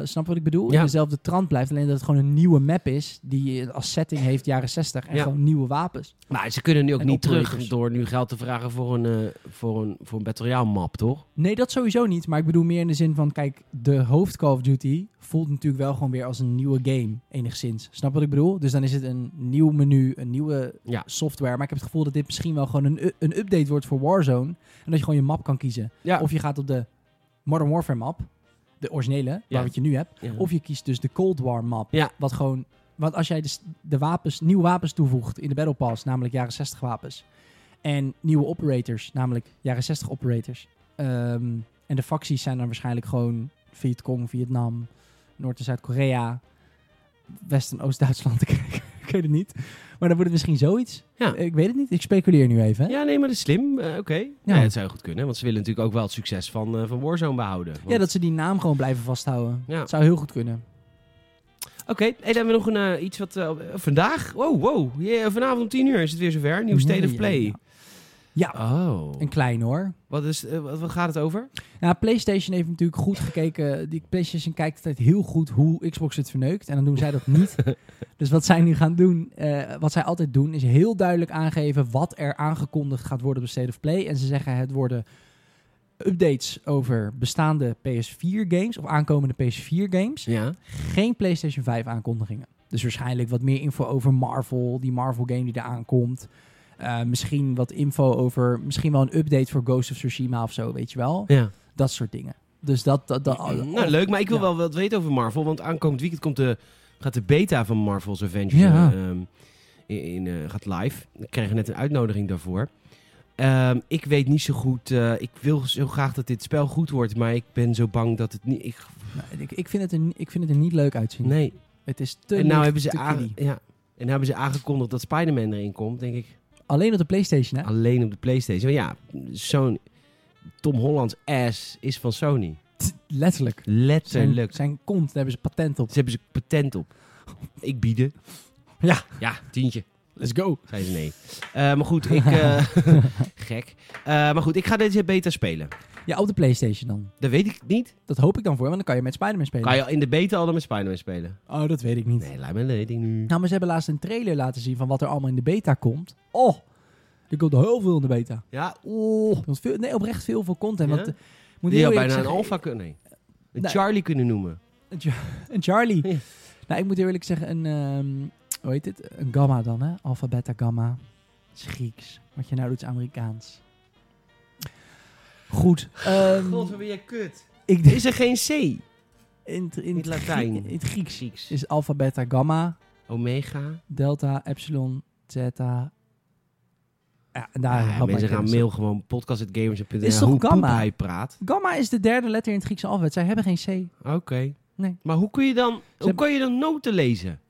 snap je wat ik bedoel? Ja. In dezelfde trant blijft. Alleen dat het gewoon een nieuwe map is. Die als setting heeft jaren 60. En Ja. gewoon nieuwe wapens. Maar ze kunnen nu ook En niet terug operators. door nu geld te vragen voor een, eh, voor een, voor een Battle Royale map, toch? Nee, dat sowieso niet. Maar ik bedoel meer in de zin van... Kijk, de hoofd Call of Duty voelt natuurlijk wel gewoon weer als een nieuwe game. Enigszins. Snap wat ik bedoel? Dus dan is het een nieuw menu, een nieuwe Ja. software. Maar ik heb het gevoel dat dit misschien wel gewoon een, u- een update wordt voor Warzone. En dat je gewoon je map kan kiezen. Ja. Of je gaat op de Modern Warfare map. De originele, waar Ja. wat je nu hebt. Ja. Of je kiest dus de Cold War map. Ja. Wat gewoon. Want als jij de, s- de wapens, nieuwe wapens toevoegt in de Battle Pass, namelijk jaren 60 wapens. En nieuwe operators, namelijk jaren 60 operators. ehm, en de facties zijn dan waarschijnlijk gewoon Vietcong, Vietnam, Noord- en Zuid-Korea, West- en Oost-Duitsland. ik weet het niet. Maar dan wordt het misschien zoiets. Ja. Ik weet het niet. Ik speculeer nu even. hè. Ja, nee, maar dat is slim. Eh, Oké. Ja. dat zou heel goed kunnen. Want ze willen natuurlijk ook wel het succes van, eh, van Warzone behouden. Want- Ja, dat ze die naam gewoon blijven vasthouden. Ja. Dat zou heel goed kunnen. Oké, en dan hebben we nog een, eh, iets wat... eh, vandaag? Wow, wow. Ja, eh, vanavond om tien uur is het weer zover. Nieuw State of Ja, Play. ja, ja. Ja, Oh. een klein hoor. Wat, is, eh, wat, wat gaat het over? Nou, PlayStation heeft natuurlijk goed gekeken. Die PlayStation kijkt altijd heel goed hoe Xbox het verneukt. En dan doen zij dat niet. dus wat zij nu gaan doen, eh, wat zij altijd doen, is heel duidelijk aangeven wat er aangekondigd gaat worden op de State of Play. En ze zeggen het worden updates over bestaande PS4-games of aankomende PS4-games. Ja. Geen PlayStation 5 aankondigingen. Dus waarschijnlijk wat meer info over Marvel, die Marvel-game die eraan komt. Eh, misschien wat info over, misschien wel een update voor Ghost of Tsushima of zo, weet je wel. ja. Dat soort dingen. Dus dat... dat, dat Nou, leuk, maar ik wil Ja. wel wat weten over Marvel. Want aankomend weekend komt de, gaat de beta van Marvel's Avengers Ja. eh, ehm, in, in, eh, gaat live. Ik kreeg net een uitnodiging daarvoor. Ehm, ik weet niet zo goed. eh, ik wil zo graag dat dit spel goed wordt, maar ik ben zo bang dat het niet. Ik, Nou, ik, ik, vind het er, ni- ik vind het er niet leuk uitzien. nee. Het is te En nou licht, hebben ze te aan- kiddie. ja. En nou hebben ze aangekondigd dat Spider-Man erin komt, denk ik. Alleen op de PlayStation, hè? Alleen op de PlayStation. Maar ja, zo'n Tom Hollands ass is van Sony. Letterlijk. Zijn, Letterlijk. zijn kont, daar hebben ze patent op. Ze hebben ze patent op. Ik bieden. Ja. Ja, tientje. Let's go. Zei ze nee. Eh, maar goed, ik... eh, gek. Eh, maar goed, ik ga deze beta spelen. Ja, op de PlayStation dan. Dat weet ik niet. Dat hoop ik dan voor, want dan kan je met Spider-Man spelen. Kan je in de beta al dan met Spider-Man spelen? Oh, dat weet ik niet. Nee, laat me dat weet ik nu. Nou, maar ze hebben laatst een trailer laten zien van wat er allemaal in de beta komt. Oh, er komt heel veel in de beta. Ja, oeh. Er komt veel, nee, oprecht veel voor content. Ja? Want, eh, moet Die heel had bijna eerlijk een zeggen, alfa kunnen... Nee. Een Nee. Charlie kunnen noemen. Een Charlie. Ja. Nou, ik moet eerlijk zeggen, een, ehm, hoe heet dit? Een gamma dan, hè? Alpha, beta, gamma. Dat is Grieks. Wat je nou doet is Amerikaans. Goed. ehm, God, wat ben jij kut. ik denk Is er geen C? in, in, het Latijn. Grie- in het Grieks Zieks. is alpha, beta, gamma, Omega. delta, epsilon, zeta. Ja, en daar Ja, helpt mensen mij gaan kennis. mail gewoon podcast.gamers.nl. Is toch hoe poep gamma? hij praat. Gamma is de derde letter in het Griekse alfabet. Zij hebben geen C. Oké. Nee. Maar hoe kun je dan, hoe hebben- kun je dan noten lezen?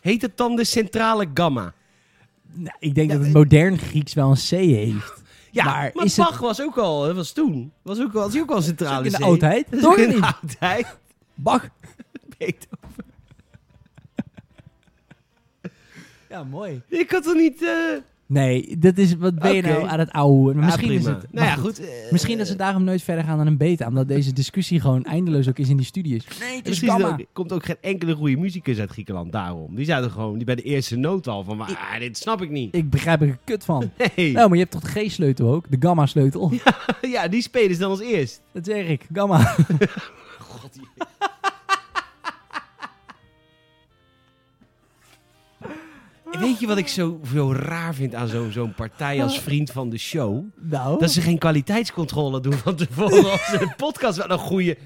Heet het dan de centrale gamma? Nou, ik denk eh- dat het modern Grieks wel een C heeft. Ja, maar, Maar is het- Bach was ook al, dat was toen, was ook al, was ook al een centrale in de C. oudheid. Dat is Toch ook in de niet? oudheid. Bach. Beethoven. Ja, mooi. Ik had toch niet... eh, Nee, dat is, wat ben je Oké. nou aan het ouwe? ah, Maar misschien is prima. het... Nou ja, maar goed. eh, Misschien dat ze daarom nooit verder gaan dan een beta. Omdat deze discussie gewoon eindeloos ook is in die studies. Nee, het is Misschien is er gamma. ook- er komt ook geen enkele goede muzikus uit Griekenland daarom. Die zouden gewoon die bij de eerste noot al van, maar, ah, dit snap ik niet. Ik begrijp er een kut van. Nee. Nou, maar je hebt toch de G-sleutel ook? De gamma-sleutel? Ja, die spelen ze dan als eerst. Dat zeg ik. Gamma. Weet je wat ik zo, zo raar vind aan zo'n zo'n partij als vriend van de show? Nou. Dat ze geen kwaliteitscontrole doen van tevoren als ze een podcast wel een goede...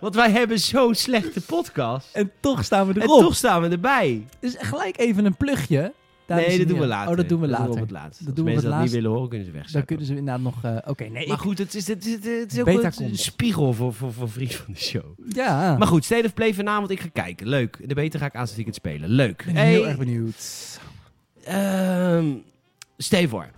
Want wij hebben zo'n slechte podcast. En toch staan we En erop. toch staan we erbij. Dus gelijk even een plugje. Dames en nee, dat doen we heren. later. Oh, dat doen we later. op het laatst. Dat Als doen we mensen op dat niet het laatst. willen horen, kunnen ze weg. Dan kunnen ze inderdaad nog... eh, Oké, nee. Maar ik- goed, het is, het is, het is, het is ook Beta een- een komt. spiegel voor, voor, voor vriend van de show. Ja. Maar goed, State of Play vanavond. Ik ga kijken. Leuk. De beter ga ik aanstaande weekend spelen. Leuk. Ik ben Hey, heel erg benieuwd. ehm, Stevor.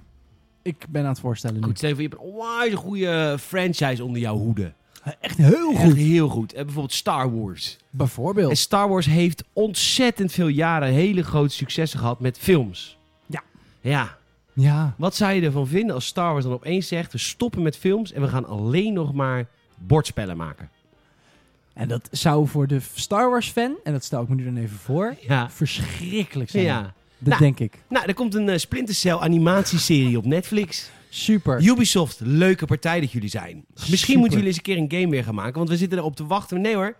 Ik ben aan het voorstellen nu. Goed, Stevor, je hebt een onwijs goede franchise onder jouw hoede. Echt heel Echt heel goed. En bijvoorbeeld Star Wars. En Bijvoorbeeld. Star Wars heeft ontzettend veel jaren hele grote successen gehad met films. Ja. Ja. Ja. Wat zou je ervan vinden als Star Wars dan opeens zegt: we stoppen met films en we gaan alleen nog maar bordspellen maken? En dat zou voor de Star Wars fan, en dat stel ik me nu dan even voor, Ja. verschrikkelijk zijn. Ja. Dat Nou. denk ik. Nou, er komt een eh, Splinter Cell animatieserie op Netflix. Super. Ubisoft, leuke partij dat jullie zijn. Misschien Super. moeten jullie eens een keer een game weer gaan maken, want we zitten erop te wachten. Nee hoor,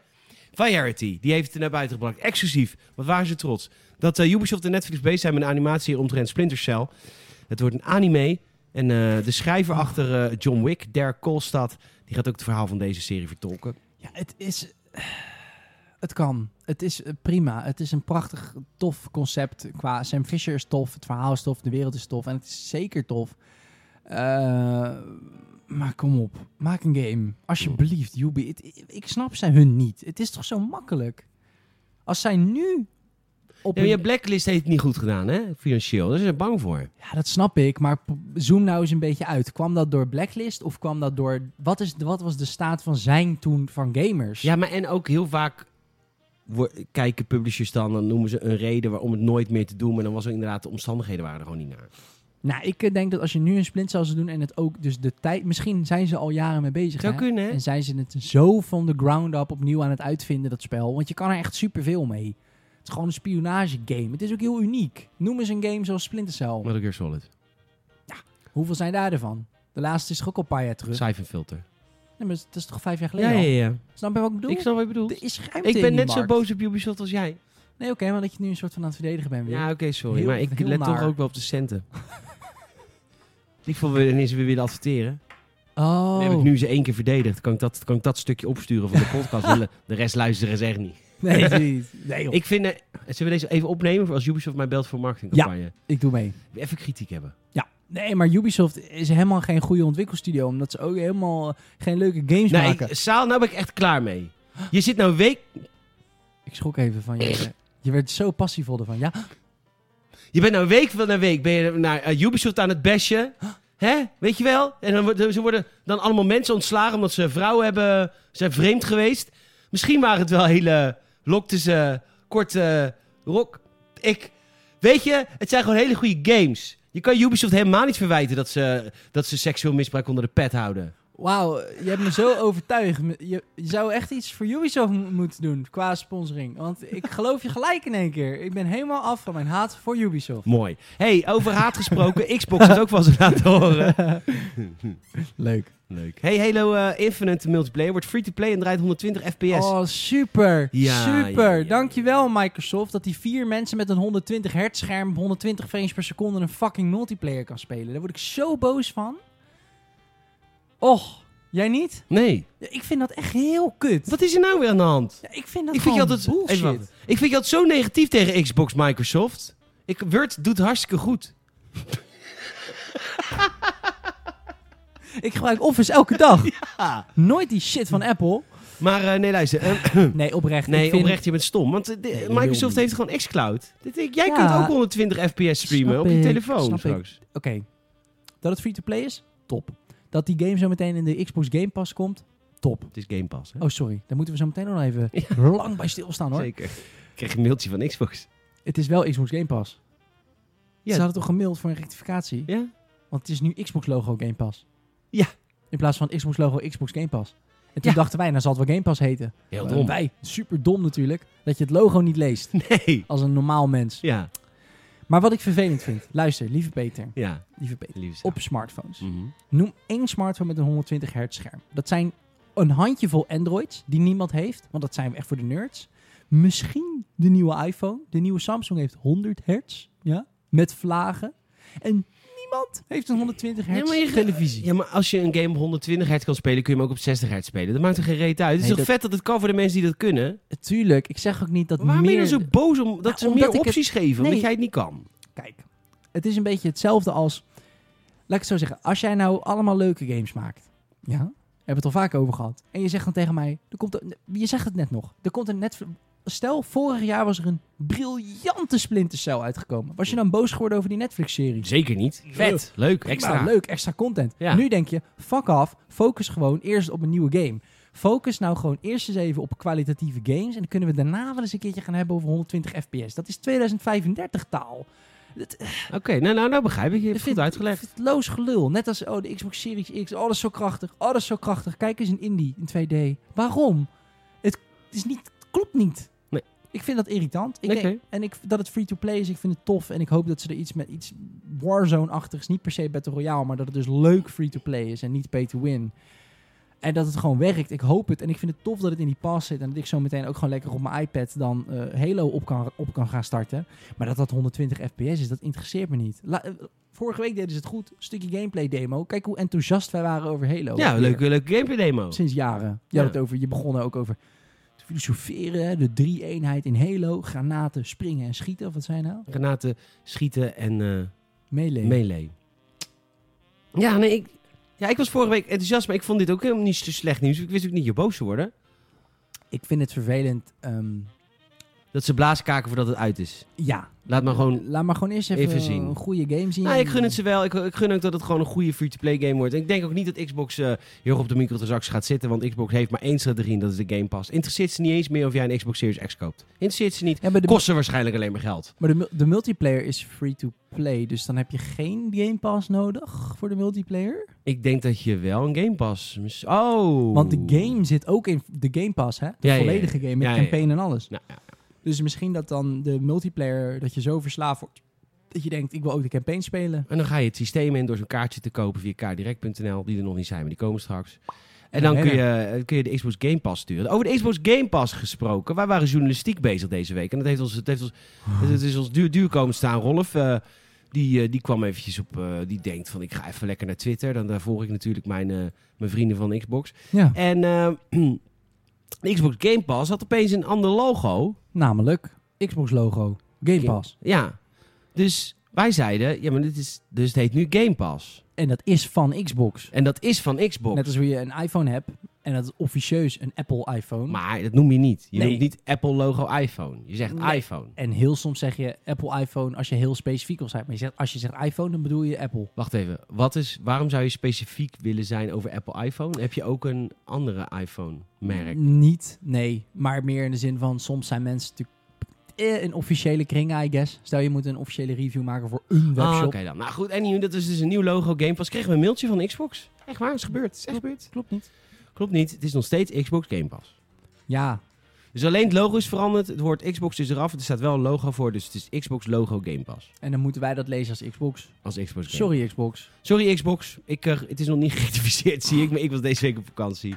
Variety, die heeft het naar buiten gebracht. Exclusief, wat waren ze trots. Dat eh, Ubisoft en Netflix bezig zijn met een animatie omtrent Splinter Cell. Het wordt een anime. En eh, de schrijver achter eh, John Wick, Derek Kolstad, die gaat ook het verhaal van deze serie vertolken. Ja, het is... Het kan. Het is eh, prima. Het is een prachtig, tof concept. Qua Sam Fisher is tof, het verhaal is tof, de wereld is tof. En het is zeker tof. Eh, maar kom op. Maak een game. Alsjeblieft, Yubi. Het- ik snap zij hun niet. Het is toch zo makkelijk? Als zij nu... Op Ja, maar een- ja, Blacklist heeft het niet goed gedaan, hè? Financieel, daar zijn ze bang voor. Ja, dat snap ik, maar p- zoom nou eens een beetje uit. Kwam dat door Blacklist of kwam dat door... Wat, is, wat was de staat van zijn toen van gamers? Ja, maar en ook heel vaak wo- kijken publishers dan, dan noemen ze een reden waarom het nooit meer te doen. Maar dan was er inderdaad, de omstandigheden waren er gewoon niet naar. Nou, ik eh, denk dat als je nu een splint zou doen en het ook... Dus de tijd... Misschien zijn ze al jaren mee bezig, Zou hè? kunnen, hè? En zijn ze het zo van de ground up opnieuw aan het uitvinden, dat spel. Want je kan er echt superveel mee. Het is gewoon een spionagegame. Het is ook heel uniek. Noem eens een game zoals Splinter Cell. Metal Gear Solid. Hoeveel zijn daar ervan? De laatste is toch ook al een paar jaar terug. Cijferfilter. Nee, maar dat is toch vijf jaar Ja, geleden ja, al? ja. Snap je wat ik bedoel? Ik snap wat je bedoelt. Er is ruimte Ik E in ben die net zo markt. boos op Ubisoft als jij. Nee, oké, maar dat je nu een soort van aan het verdedigen bent weer. Ja, oké, sorry. Heel- maar ik heel let toch naar. ook wel op de centen. ik vond we ineens weer willen adverteren. Oh. Dan heb ik nu ze één keer verdedigd. Kan ik dat, kan ik dat stukje opsturen van de podcast? Willen- de rest luisteren ze echt niet. Nee, dat doe je niet. Nee, joh. Ik, Ik vind... eh, zullen we deze even opnemen voor als Ubisoft mij belt voor marketingcampagne? doe mee. Even kritiek hebben. Ja. Nee, maar Ubisoft is helemaal geen goede ontwikkelstudio. Omdat ze ook helemaal eh, geen leuke games Nou, maken. ik, Saal, nou ben ik echt klaar mee. Je zit nou week... Ik schrok even van je. Je werd zo passievol ervan. Ja, Je bent nou week van na week ben je naar eh, Ubisoft aan het bashen. Hè? Weet je wel? En dan worden, ze worden dan allemaal mensen ontslagen omdat ze vrouwen hebben, zijn vreemd geweest. Misschien waren het wel hele lokte ze korte rok. Ik, weet je, het zijn gewoon hele goede games. Je kan Ubisoft helemaal niet verwijten dat ze, dat ze seksueel misbruik onder de pet houden. wauw. Je hebt me zo overtuigd. Me- Je, je zou echt iets voor Ubisoft mo- moeten doen qua sponsoring. Want ik geloof je gelijk in één keer. Ik ben helemaal af van mijn haat voor Ubisoft. Mooi. hey, over haat gesproken. Xbox is ook wel eens laten horen. Leuk. Leuk. Hey, Halo eh, Infinite Multiplayer wordt free-to-play en draait 120 fps. Oh, super. Ja, super. ja, ja. Dankjewel, Microsoft, dat die vier mensen met een 120 hertz scherm, op 120 frames per seconde een fucking multiplayer kan spelen. Daar word ik zo boos van. Och, jij niet? Nee. Ja, ik vind dat echt heel kut. Wat is er nou weer aan de hand? Ja, ik vind dat ik vind je gewoon altijd bullshit. even wachten. Ik vind je altijd zo negatief tegen Xbox Microsoft. Ik, Word doet hartstikke goed. Ik gebruik Office elke dag. Nooit die shit van Apple. Maar eh, nee, luister. eh, Nee, oprecht. nee, ik vind- oprecht, je bent stom. Want eh, de- je wil Microsoft niet. heeft gewoon xCloud. Dit- ik- Jij Ja. kunt ook 120 fps streamen Snap op je ik, telefoon snap ik. straks. Oké, dat het free-to-play is, top. Dat die game zo meteen in de Xbox Game Pass komt, top. Het is Game Pass, hè? Oh, sorry. Daar moeten we zo meteen nog even lang bij stilstaan, hoor. Zeker. Ik kreeg een mailtje van Xbox. Het is wel Xbox Game Pass. Ja. Ze hadden toch gemaild voor een rectificatie? Ja? Want het is nu Xbox logo Game Pass. Ja. In plaats van Xbox logo Xbox Game Pass. En toen Ja. dachten wij, nou zal het wel Game Pass heten. Heel Eh, dom. Wij, super dom natuurlijk, dat je het logo niet leest. Nee. Als een normaal mens. Ja, Maar wat ik vervelend vind, luister, lieve Peter, ja. lieve Peter, Lieve Saal. op smartphones. Mhm. Noem één smartphone met een 120 hertz scherm. Dat zijn een handjevol Androids die niemand heeft, want dat zijn we echt voor de nerds. Misschien de nieuwe iPhone. De nieuwe Samsung heeft 100 hertz, ja, met vlagen. En niemand heeft een 120 hertz maar je- televisie. Ja, maar als je een game op 120 hertz kan spelen, kun je hem ook op 60 hertz spelen. Dat maakt er geen reet uit. Het is Nee, toch dat- vet dat het kan voor de mensen die dat kunnen? Tuurlijk, ik zeg ook niet dat Maar Waarom meer... ben je dan zo boos om dat Nou, ze omdat meer ik het- opties geven? Nee. Omdat jij het niet kan. Kijk, het is een beetje hetzelfde als... Laat ik het zo zeggen, als jij nou allemaal leuke games maakt... Ja, hebben we het al vaak over gehad. En je zegt dan tegen mij... Er komt een- je zegt het net nog. Er komt een net... Stel, vorig jaar was er een briljante Splinter Cell uitgekomen. Was je dan boos geworden over die Netflix-serie? Zeker niet. Vet. Leuk. Prima, Extra. leuk, extra content. Ja. Nu denk je, fuck af, focus gewoon eerst op een nieuwe game. Focus nou gewoon eerst eens even op kwalitatieve games. En dan kunnen we daarna wel eens een keertje gaan hebben over 120 fps. Dat is 2035 taal. Oké, nou, nou, nou begrijp ik. Je hebt het goed Ik vind- uitgelegd. ik vind het Loos gelul. Net als oh, de Xbox Series X. Oh, dat is zo krachtig. Oh, dat is zo krachtig. Kijk eens in indie, in 2D. Waarom? Het, is niet, het klopt niet. Nee. Ik vind dat irritant. Ik Oké. denk- en ik, dat het free-to-play is, ik vind het tof. En ik hoop dat ze er iets met iets Warzone-achtigs... Niet per se Battle Royale, maar dat het dus leuk free-to-play is. En niet pay-to-win. En dat het gewoon werkt. Ik hoop het. En ik vind het tof dat het in die pas zit. En dat ik zo meteen ook gewoon lekker op mijn iPad dan eh, Halo op kan, op kan gaan starten. Maar dat dat 120 fps is, dat interesseert me niet. La- eh, vorige week deden ze het goed. Stukje gameplay demo. Kijk hoe enthousiast wij waren over Halo. ja, Weer. leuke, leuke gameplay demo. Sinds jaren. Je, had het over, je begon er ook over te filosoferen. hè, De drie-eenheid in Halo. Granaten, springen en schieten. Of wat zijn nou? Granaten, schieten en eh Melee. melee. Ja, nee, ik... Ja, ik was vorige week enthousiast, maar ik vond dit ook helemaal niet zo slecht nieuws. Ik wist ook niet je boos te worden. ik vind het vervelend. ehm, Dat ze blaaskaken voordat het uit is. ja. Laat maar gewoon... Laat maar gewoon eerst even, Even zien. een goede game zien. Nou, ik gun het ze wel. Ik, ik gun ook dat het gewoon een goede free-to-play game wordt. En ik denk ook niet dat Xbox eh, heel erg op de microtransacties gaat zitten. Want Xbox heeft maar één strategie en dat is de Game Pass. Interesseert ze niet eens meer of jij een Xbox Series X koopt. Interesseert ze niet. Ja, maar de, Kosten waarschijnlijk alleen maar geld. Maar de, mul- de multiplayer is free to play, dus dan heb je geen Game Pass nodig voor de multiplayer. Ik denk dat je wel een Game Pass... mis- Oh. Want de game zit ook in de Game Pass, hè? De Ja, ja, ja. volledige game met Ja, ja, ja. campaign en alles. Nou, ja. Dus misschien dat dan de multiplayer, dat je zo verslaafd wordt dat je denkt, ik wil ook de campaign spelen. En dan ga je het systeem in door zo'n kaartje te kopen via kaardirect.nl, die er nog niet zijn, maar die komen straks. En dan kun je, eh, kun je de Xbox Game Pass sturen. Over de Xbox Game Pass gesproken. Wij waren journalistiek bezig deze week. En dat heeft ons, het heeft ons, het is ons duur, duur komen staan. Rolf, eh, die, eh, die kwam eventjes op, eh, die denkt van ik ga even lekker naar Twitter. Dan daarvoor ik natuurlijk mijn, eh, mijn vrienden van Xbox. Ja, En eh, de Xbox Game Pass had opeens een ander logo. namelijk Xbox logo, Game Pass. Ja. Dus wij zeiden, ja maar dit is, dus het heet nu Game Pass. En dat is van Xbox. En dat is van Xbox. Net als hoe je een iPhone hebt en dat is officieus een Apple iPhone. Maar dat noem je niet. Je Nee. noemt niet Apple logo iPhone. Je zegt Nee. iPhone. En heel soms zeg je Apple iPhone als je heel specifiek wil zijn. Maar je zegt, als je zegt iPhone, dan bedoel je Apple. Wacht even. Wat is, waarom zou je specifiek willen zijn over Apple iPhone? Heb je ook een andere iPhone-merk? Niet, nee. Maar meer in de zin van, soms zijn mensen natuurlijk eh, in officiële kringen, I guess. Stel, je moet een officiële review maken voor een Ah, webshop. oké dan. Nou goed, anyway, dat is dus een nieuw logo Game Pass. Kregen we een mailtje van Xbox? Echt waar, het is gebeurd. Het is echt gebeurd. Klopt niet. Klopt niet, het is nog steeds Xbox Game Pass. Ja, Dus alleen het logo is veranderd. Het woord Xbox is eraf. Er staat wel een logo voor, dus het is Xbox logo Game Pass. en dan moeten wij dat lezen als Xbox. Als Xbox Game Sorry, Xbox. Sorry Xbox, ik, eh, het is nog niet gerectificeerd, zie ik. Maar ik was deze week op vakantie.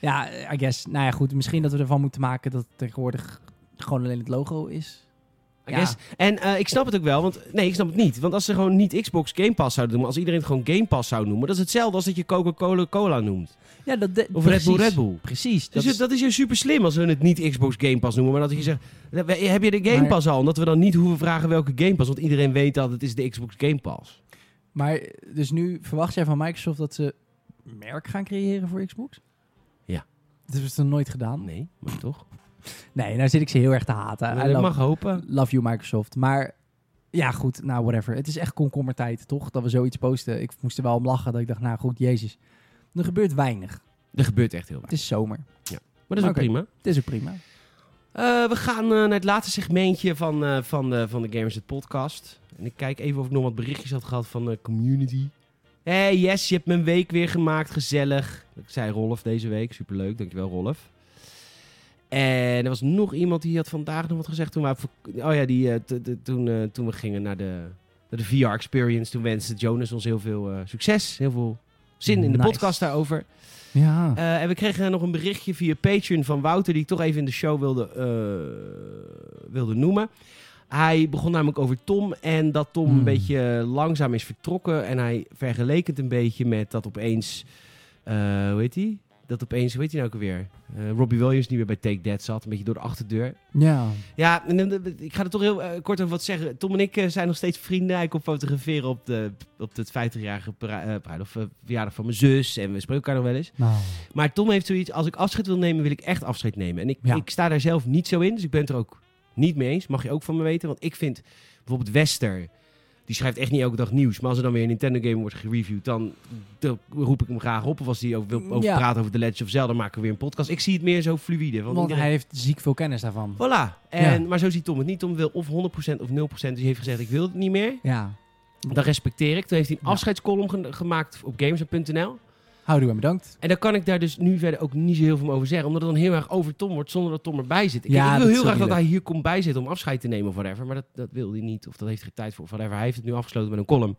Ja, eh, I guess. Nou ja, goed. Misschien dat we ervan moeten maken dat het tegenwoordig gewoon alleen het logo is. I Ja. guess. En eh, ik snap het ook wel, want nee, ik snap het niet. Want als ze gewoon niet Xbox Game Pass zouden doen, als iedereen het gewoon Game Pass zou noemen, dat is hetzelfde als dat je Coca-Cola Cola noemt. Ja, dat de- Of Red Bull precies. Red Bull. Precies. Dus Dat dat is, is, dat is juist super slim als we het niet Xbox Game Pass noemen, maar dat je zegt, heb je de Game Maar- Pass al? En dat we dan niet hoeven vragen welke Game Pass, want iedereen weet dat het is de Xbox Game Pass. maar eh, dus nu verwacht jij van Microsoft dat ze een merk gaan creëren voor Xbox? Ja. Dat hebben ze nog nooit gedaan. Nee, maar toch? Nee, nou zit ik ze heel erg te haten. I Nou, ik love, mag hopen. love you, Microsoft. Maar ja, goed. Nou, whatever. Het is echt komkommertijd, toch? Dat we zoiets posten. Ik moest er wel om lachen dat ik dacht, nou goed, jezus. Er gebeurt weinig. Er gebeurt echt heel Het weinig. is zomer. Maar dat is ook Oké. prima. Het is ook prima. Eh, we gaan eh, naar het laatste segmentje van, eh, van, de, van de Gamers het podcast. En ik kijk even of ik nog wat berichtjes had gehad van de community. Hey yes, je hebt mijn week weer gemaakt, gezellig. Ik zei Rolf deze week, superleuk, dankjewel Rolf. En er was nog iemand die had vandaag nog wat gezegd toen we... op vak- Oh ja, die, eh, t- t- toen, eh, toen we gingen naar de, naar de VR Experience, toen wenste Jonas ons heel veel eh, succes, heel veel zin in de Nice. podcast daarover. Ja. Eh, en we kregen nog een berichtje via Patreon van Wouter, die ik toch even in de show wilde, eh, wilde noemen. Hij begon namelijk over Tom en dat Tom Hmm. een beetje langzaam is vertrokken. En hij vergeleek het een beetje met dat opeens, eh, hoe heet die? Dat opeens, hoe heet hij nou ook alweer? Eh, Robbie Williams die weer bij Take That zat, een beetje door de achterdeur. ja. Ja, en, eh, ik ga er toch heel eh, kort over wat zeggen. Tom en ik eh, zijn nog steeds vrienden. Hij komt fotograferen op de, op de 50-jarige pra- eh, bruiloft, eh, verjaardag van mijn zus. En we spreken elkaar nog wel eens. Nou. Maar Tom heeft zoiets, als ik afscheid wil nemen, wil ik echt afscheid nemen. En ik, Ja. ik sta daar zelf niet zo in, dus ik ben het er ook niet mee eens. Mag je ook van me weten, want ik vind bijvoorbeeld Wester, die schrijft echt niet elke dag nieuws. Maar als er dan weer een Nintendo game wordt gereviewd, dan, dan roep ik hem graag op. Of als hij over, wil over Ja. praten over The Legend of Zelda, dan maken we weer een podcast. Ik zie het meer zo fluïde. Want, Want iedereen- hij heeft ziek veel kennis daarvan. Voilà. En, Maar zo ziet Tom het niet. Tom wil of 100% of 0%. Dus hij heeft gezegd, ik wil het niet meer. Ja. Dat respecteer ik. Toen heeft hij een Ja. afscheidscolumn ge- gemaakt op games.nl. Houdoe en bedankt. En daar kan ik daar dus nu verder ook niet zo heel veel over zeggen. Omdat het dan heel erg over Tom wordt zonder dat Tom erbij zit. Ik, Ja, ik dat wil is heel ook graag niet dat hij hier komt bijzitten om afscheid te nemen of whatever. Maar dat, dat wil hij niet. Of dat heeft hij geen tijd voor. Of whatever. Hij heeft het nu afgesloten met een column.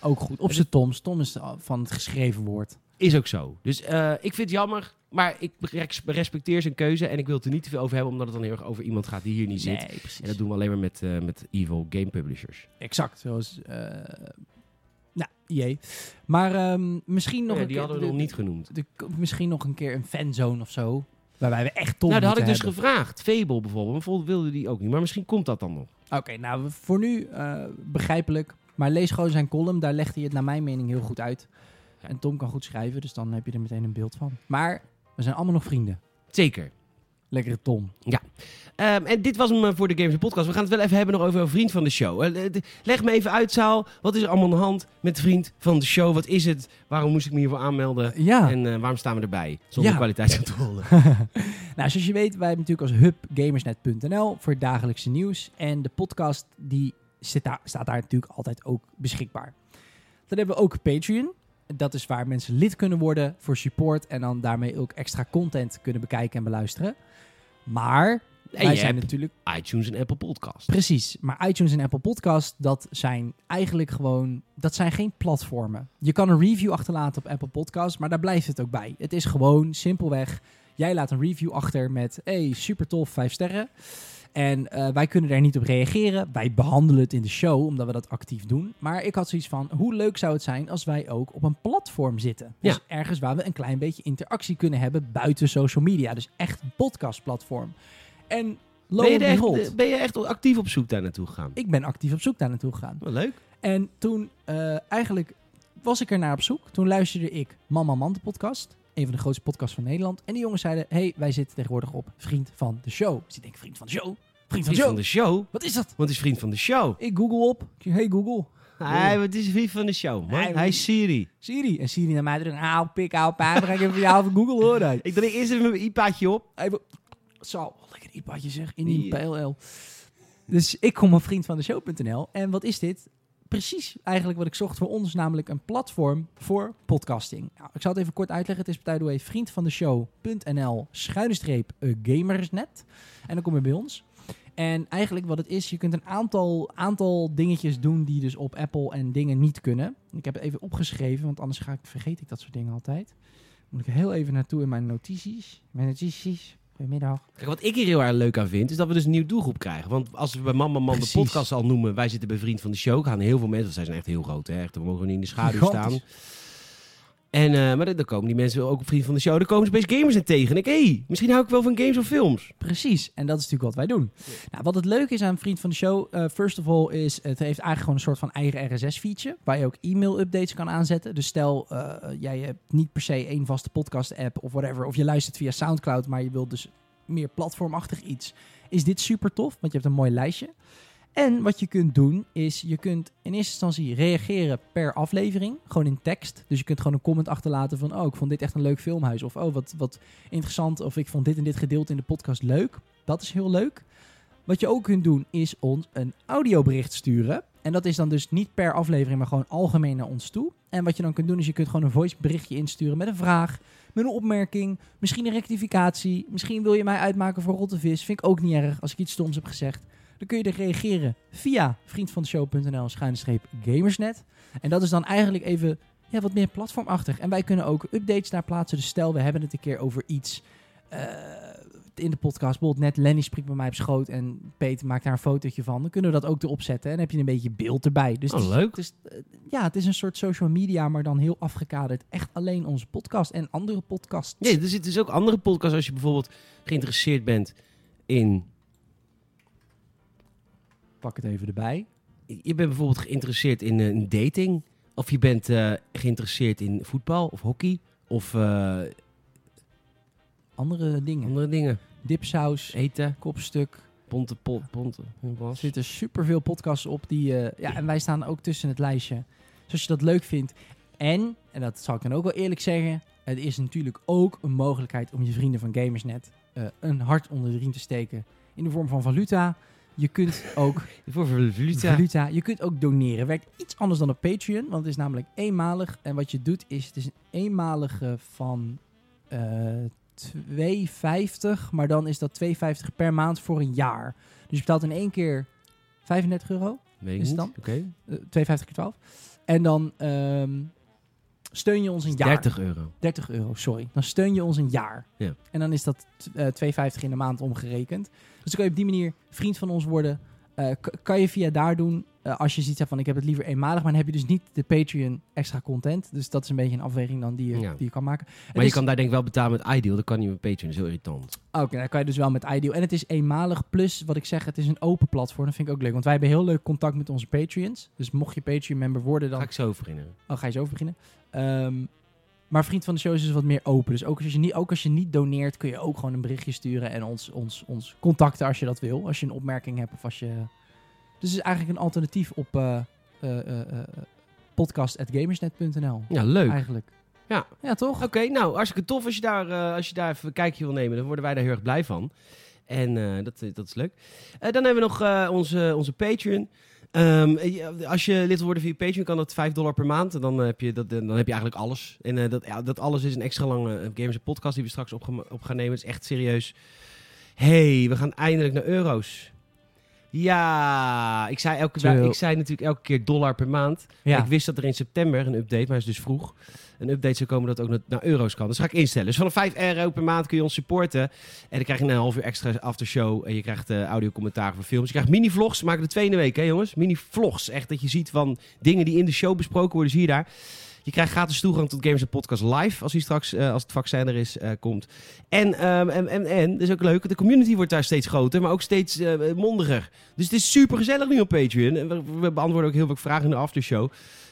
Ook goed. Op zijn Toms. Tom is eh, van het geschreven woord. Is ook zo. Dus eh, ik vind het jammer. Maar ik res- respecteer zijn keuze. En ik wil het er niet te veel over hebben. Omdat het dan heel erg over iemand gaat die hier niet zit. precies. En dat doen we alleen maar met, eh, met evil game publishers. Exact. Zoals... eh nou, jee. Maar ehm, misschien nog Ja, een die keer... hadden we de- nog niet genoemd. de- de- misschien nog een keer een fanzone of zo. Waarbij we echt Tom nou, dat had ik moeten dus hebben. gevraagd. Fable bijvoorbeeld. Bijvoorbeeld wilde die ook niet. Maar misschien komt dat dan nog. Oké, nou voor nu eh, begrijpelijk. Maar lees gewoon zijn column. Daar legt hij het naar mijn mening heel goed uit. En Tom kan goed schrijven, dus dan heb je er meteen een beeld van. Maar we zijn allemaal nog vrienden. Zeker. Lekkere Tom. Ehm, en dit was hem eh, voor de Games Podcast. We gaan het wel even hebben nog over een vriend van de show. Eh, eh, de- leg me even uit, Saal. Wat is er allemaal aan de hand met vriend van de show? Wat is het? Waarom moest ik me hiervoor aanmelden? Ja. En eh, waarom staan we erbij? Zonder Ja. kwaliteitscontrole. Nou, zoals je weet, wij hebben natuurlijk als hub gamersnet.nl voor het dagelijkse nieuws. En de podcast die zit daar, staat daar natuurlijk altijd ook beschikbaar. Dan hebben we ook Patreon. Dat is waar mensen lid kunnen worden voor support en dan daarmee ook extra content kunnen bekijken en beluisteren. Maar En Wij je zijn hebt natuurlijk... iTunes en Apple Podcast. Precies, maar iTunes en Apple Podcast, dat zijn eigenlijk gewoon... Dat zijn geen platformen. Je kan een review achterlaten op Apple Podcast, maar daar blijft het ook bij. Het is gewoon simpelweg, jij laat een review achter met... hey, super tof, vijf sterren. En eh, wij kunnen daar niet op reageren. Wij behandelen het in de show, omdat we dat actief doen. Maar ik had zoiets van, hoe leuk zou het zijn als wij ook op een platform zitten? Dus ergens waar we een klein beetje interactie kunnen hebben buiten social media. Dus echt een podcastplatform. En lo Ben je, and er echt, behold, eh, ben je echt actief op zoek daar naartoe gegaan? ik ben actief op zoek daar naartoe gegaan. Wel leuk. En toen eh, eigenlijk was ik er naar op zoek. Toen luisterde ik Mama Man de podcast. Een van de grootste podcasts van Nederland. En die jongens zeiden, hey, wij zitten tegenwoordig op Vriend van de Show. Dus ik denk, Vriend van de Show? Vriend van de Vriend van Show? de show. Wat is dat? Want hij is vriend van de show. Ik Google op. Ik zeg, hey Google, Hij wat is vriend van de show, man. Hij- Hij is Siri. Siri. En Siri naar mij terug. Auw, pik, auw, pijn. Dan ga ik even jou van Google hoor. Hij Ik drink eerst even mijn iPadje op. Even- Zo, lekker ipadje zeg. In die Ja. PLL. Dus ik kom op vriendvandeshow.nl. En wat is dit? Precies eigenlijk wat ik zocht voor ons, namelijk een platform voor podcasting. Nou, ik zal het even kort uitleggen. Het is by the way vriendvandeshow.nl schuinstreep eh, gamersnet. En dan kom je bij ons. En eigenlijk wat het is, je kunt een aantal, aantal dingetjes doen die dus op Apple en dingen niet kunnen. Ik heb het even opgeschreven, want anders ga ik, vergeet ik dat soort dingen altijd. Moet ik er heel even naartoe in mijn notities. Mijn notities. Goedemiddag. Kijk, wat ik hier heel erg leuk aan vind, is dat we dus een nieuw doelgroep krijgen. Want als we bij Mama Man Precies. de podcast al noemen, wij zitten bij Vriend van de Show, gaan heel veel mensen, want zij zijn echt heel groot, hè? Echt, we mogen niet in de schaduw Gigantisch. staan. En, eh, maar dan dan komen die mensen ook op Vriend van de Show, dan komen ze opeens gamers in tegen. En ik, hé, hey, misschien hou ik wel van games of films. Precies, en dat is natuurlijk wat wij doen. Nou, wat het leuke is aan Vriend van de Show, eh, first of all, is het heeft eigenlijk gewoon een soort van eigen RSS-feature, waar je ook e-mail-updates kan aanzetten. Dus stel, eh, jij hebt niet per se één vaste podcast-app of whatever, of je luistert via Soundcloud, maar je wilt dus meer platformachtig iets, is dit super tof, want je hebt een mooi lijstje. En wat je kunt doen, is je kunt in eerste instantie reageren per aflevering, gewoon in tekst. Dus je kunt gewoon een comment achterlaten van, oh, ik vond dit echt een leuk filmhuis, of oh, wat, wat interessant, of ik vond dit en dit gedeelte in de podcast leuk. Dat is heel leuk. Wat je ook kunt doen is ons een audiobericht sturen. En dat is dan dus niet per aflevering, maar gewoon algemeen naar ons toe. En wat je dan kunt doen is je kunt gewoon een voice berichtje insturen met een vraag, met een opmerking, misschien een rectificatie. Misschien wil je mij uitmaken voor rotte vis. Vind ik ook niet erg als ik iets stoms heb gezegd. Dan kun je er reageren via vriendvandeshow.nl schuinstreep gamersnet. En dat is dan eigenlijk even ja, wat meer platformachtig. En wij kunnen ook updates daar plaatsen. Dus stel, we hebben het een keer over iets eh, in de podcast. Bijvoorbeeld net Lenny springt bij mij op schoot en Peter maakt daar een fotootje van. Dan kunnen we dat ook erop zetten en dan heb je een beetje beeld erbij. Dus het Oh, is- leuk. het is, eh, ja, het is een soort social media, maar dan heel afgekaderd. Echt alleen onze podcast en andere podcasts. Nee, er zitten dus ook andere podcasts als je bijvoorbeeld geïnteresseerd bent in... Pak het even erbij. Je bent bijvoorbeeld geïnteresseerd in eh, een dating. Of je bent eh, geïnteresseerd in voetbal of hockey. Of eh, Andere dingen. andere dingen. Dipsaus, Eten, kopstuk. ponten, pol, ponten. Er zitten superveel podcasts op die... eh, ja, en wij staan ook tussen het lijstje. Dus als je dat leuk vindt. En, en dat zal ik dan ook wel eerlijk zeggen... Het is natuurlijk ook een mogelijkheid om je vrienden van Gamersnet... eh, een hart onder de riem te steken. In de vorm van valuta. Je kunt ook Voor valuta. valuta. Je kunt ook doneren. Werkt iets anders dan op Patreon, want het is namelijk eenmalig. En wat je doet is, het is een eenmalige van eh 2,50. Maar dan is dat 2,50 per maand voor een jaar. Dus je betaalt in één keer 35 euro. Weet ik Is niet. het dan? Oké. eh, 2,50 keer 12. En dan ehm, steun je ons een jaar. 30 euro. 30 euro, sorry. Dan steun je ons een jaar. Ja. En dan is dat t- eh, 2,50 in de maand omgerekend. Dus dan kan je op die manier vriend van ons worden. Eh, k- kan je via daar doen. eh, als je ziet hè, van ik heb het liever eenmalig. Maar dan heb je dus niet de Patreon extra content. Dus dat is een beetje een afweging dan die je, Ja. die je kan maken. Het Maar je is- kan daar denk ik wel betalen met iDeal. Dat kan niet met Patreon. Dat is heel irritant. Oké, dan kan je dus wel met iDeal. En het is eenmalig. Plus, wat ik zeg, het is een open platform. Dat vind ik ook leuk. Want wij hebben heel leuk contact met onze Patreons. Dus mocht je Patreon-member worden, dan Ga ik zo beginnen. Oh, ga je zo over beginnen? Ehm, maar vriend van de show is dus wat meer open. Dus ook als, je niet, ook als je niet doneert, kun je ook gewoon een berichtje sturen en ons, ons, ons contacten als je dat wil. Als je een opmerking hebt of als je. Dus het is eigenlijk een alternatief op eh podcast.gamersnet.nl. Ja, leuk. Eigenlijk. Ja. Ja, toch? Oké, nou hartstikke tof. Als je, daar, eh, als je daar even een kijkje wil nemen, dan worden wij daar heel erg blij van. En eh, dat, dat is leuk. Eh, dan hebben we nog eh, onze, onze Patreon. Ehm, eh, je- als je lid wil worden via Patreon, kan dat 5 dollar per maand. En dan heb je, dat, dan heb je eigenlijk alles. En eh, dat, ja, dat alles is een extra lange eh, Gamers en Podcast die we straks op, op gaan nemen. Het is echt serieus hey, we gaan eindelijk naar euro's. Ja, ik zei, elke, Chill. ik zei natuurlijk elke keer dollar per maand. Ja. Ik wist dat er in september een update, maar hij is dus vroeg. Een update zou komen dat ook naar, naar euro's kan. Dus ga ik instellen. Dus vanaf 5 euro per maand kun je ons supporten. En dan krijg je een half uur extra aftershow. En je krijgt eh audio-commentaar voor films. Je krijgt mini-vlogs. We maken de tweede week, hè jongens? Mini-vlogs. Echt dat je ziet van dingen die in de show besproken worden. Zie je daar. Je krijgt gratis toegang tot Games Podcast live. Als hij straks, eh, als het vaccin er is, eh, komt. En, ehm, en, en, en, dat is ook leuk, de community wordt daar steeds groter, maar ook steeds eh, mondiger. Dus het is super gezellig nu op Patreon. En We, we beantwoorden ook heel veel vragen in de aftershow.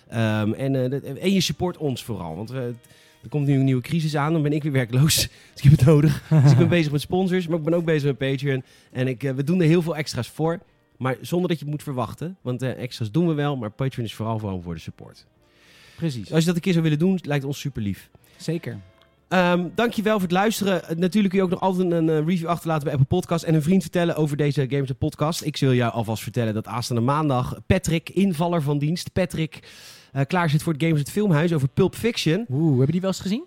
Ehm en, eh, dat- en je support ons vooral, want we- er komt nu een nieuwe crisis aan. Dan ben ik weer werkloos, dus ik heb het nodig. Dus ik ben bezig met sponsors, maar ik ben ook bezig met Patreon. En ik, eh, we doen er heel veel extra's voor, maar zonder dat je het moet verwachten. Want eh, extra's doen we wel, maar Patreon is vooral gewoon voor de support. Precies. Dus als je dat een keer zou willen doen, lijkt ons super lief. Oh, Zeker. Ehm dankjewel voor het luisteren. Eh, Natuurlijk kun je ook nog altijd een eh, review achterlaten bij Apple Podcast en een vriend vertellen over deze Games en Podcast. Ik wil jou alvast vertellen dat aanstaande maandag Patrick, invaller van dienst, Patrick eh, klaar zit voor het Games het Filmhuis over Pulp Fiction. Oeh, hebben die wel eens gezien?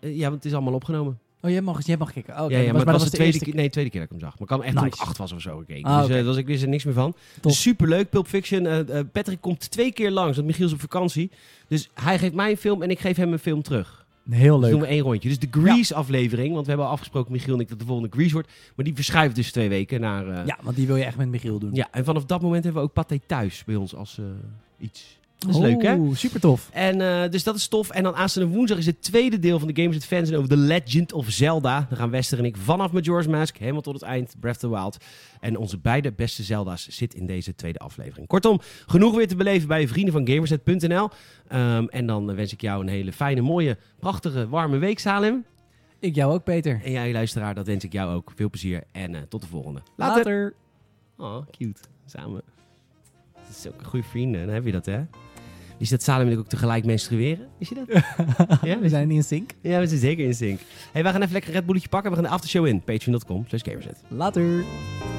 Eh, ja, want het is allemaal opgenomen. Oh, jij mag, jij mag kijken. Oh, oké. ja, ja, dat maar, het was de tweede eerste keer, nee, tweede keer dat ik hem zag. Maar ik kan echt toen ik Nice. acht was of zo gekeken. Ah, dus eh, oké. dat was, ik wist er niks meer van. Top. Dus superleuk, Pulp Fiction. Eh, eh, Patrick komt twee keer langs, want Michiel is op vakantie. Dus hij geeft mij een film en ik geef hem een film terug. Heel Dus leuk. doen we één rondje. Dus de Grease-aflevering, want we hebben al afgesproken, Michiel en ik, dat de volgende Grease wordt. Maar die verschuift dus twee weken naar... eh, ja. Ja, want die wil je echt met Michiel doen. en vanaf dat moment hebben we ook Pathé thuis bij ons als eh, iets. Dat Oh. is leuk, hè? Oeh, super tof. En eh, dus dat is tof. En dan aanstaande woensdag is het tweede deel van de Games with Fans en over The Legend of Zelda. Dan gaan Wester en ik vanaf Majora's Mask helemaal tot het eind Breath of the Wild. En onze beide beste Zelda's zit in deze tweede aflevering. Kortom, genoeg weer te beleven bij vrienden van Gamerset.nl. Ehm, en dan eh, wens ik jou een hele fijne, mooie, prachtige, warme week, Salem. Ik jou ook, Peter. En jij luisteraar, dat wens ik jou ook. Veel plezier en eh, tot de volgende. Later. Oh, cute. Samen. Dat is ook een goede vrienden. Dan heb je dat, hè? Is dat Salem en ik ook tegelijk menstrueren? Is je dat? ja, We zijn in sync. ja, we zijn zeker in sync. hey, wij gaan even lekker een Red Bulletje pakken. We gaan de aftershow in. Patreon.com slash Gamerset. Later.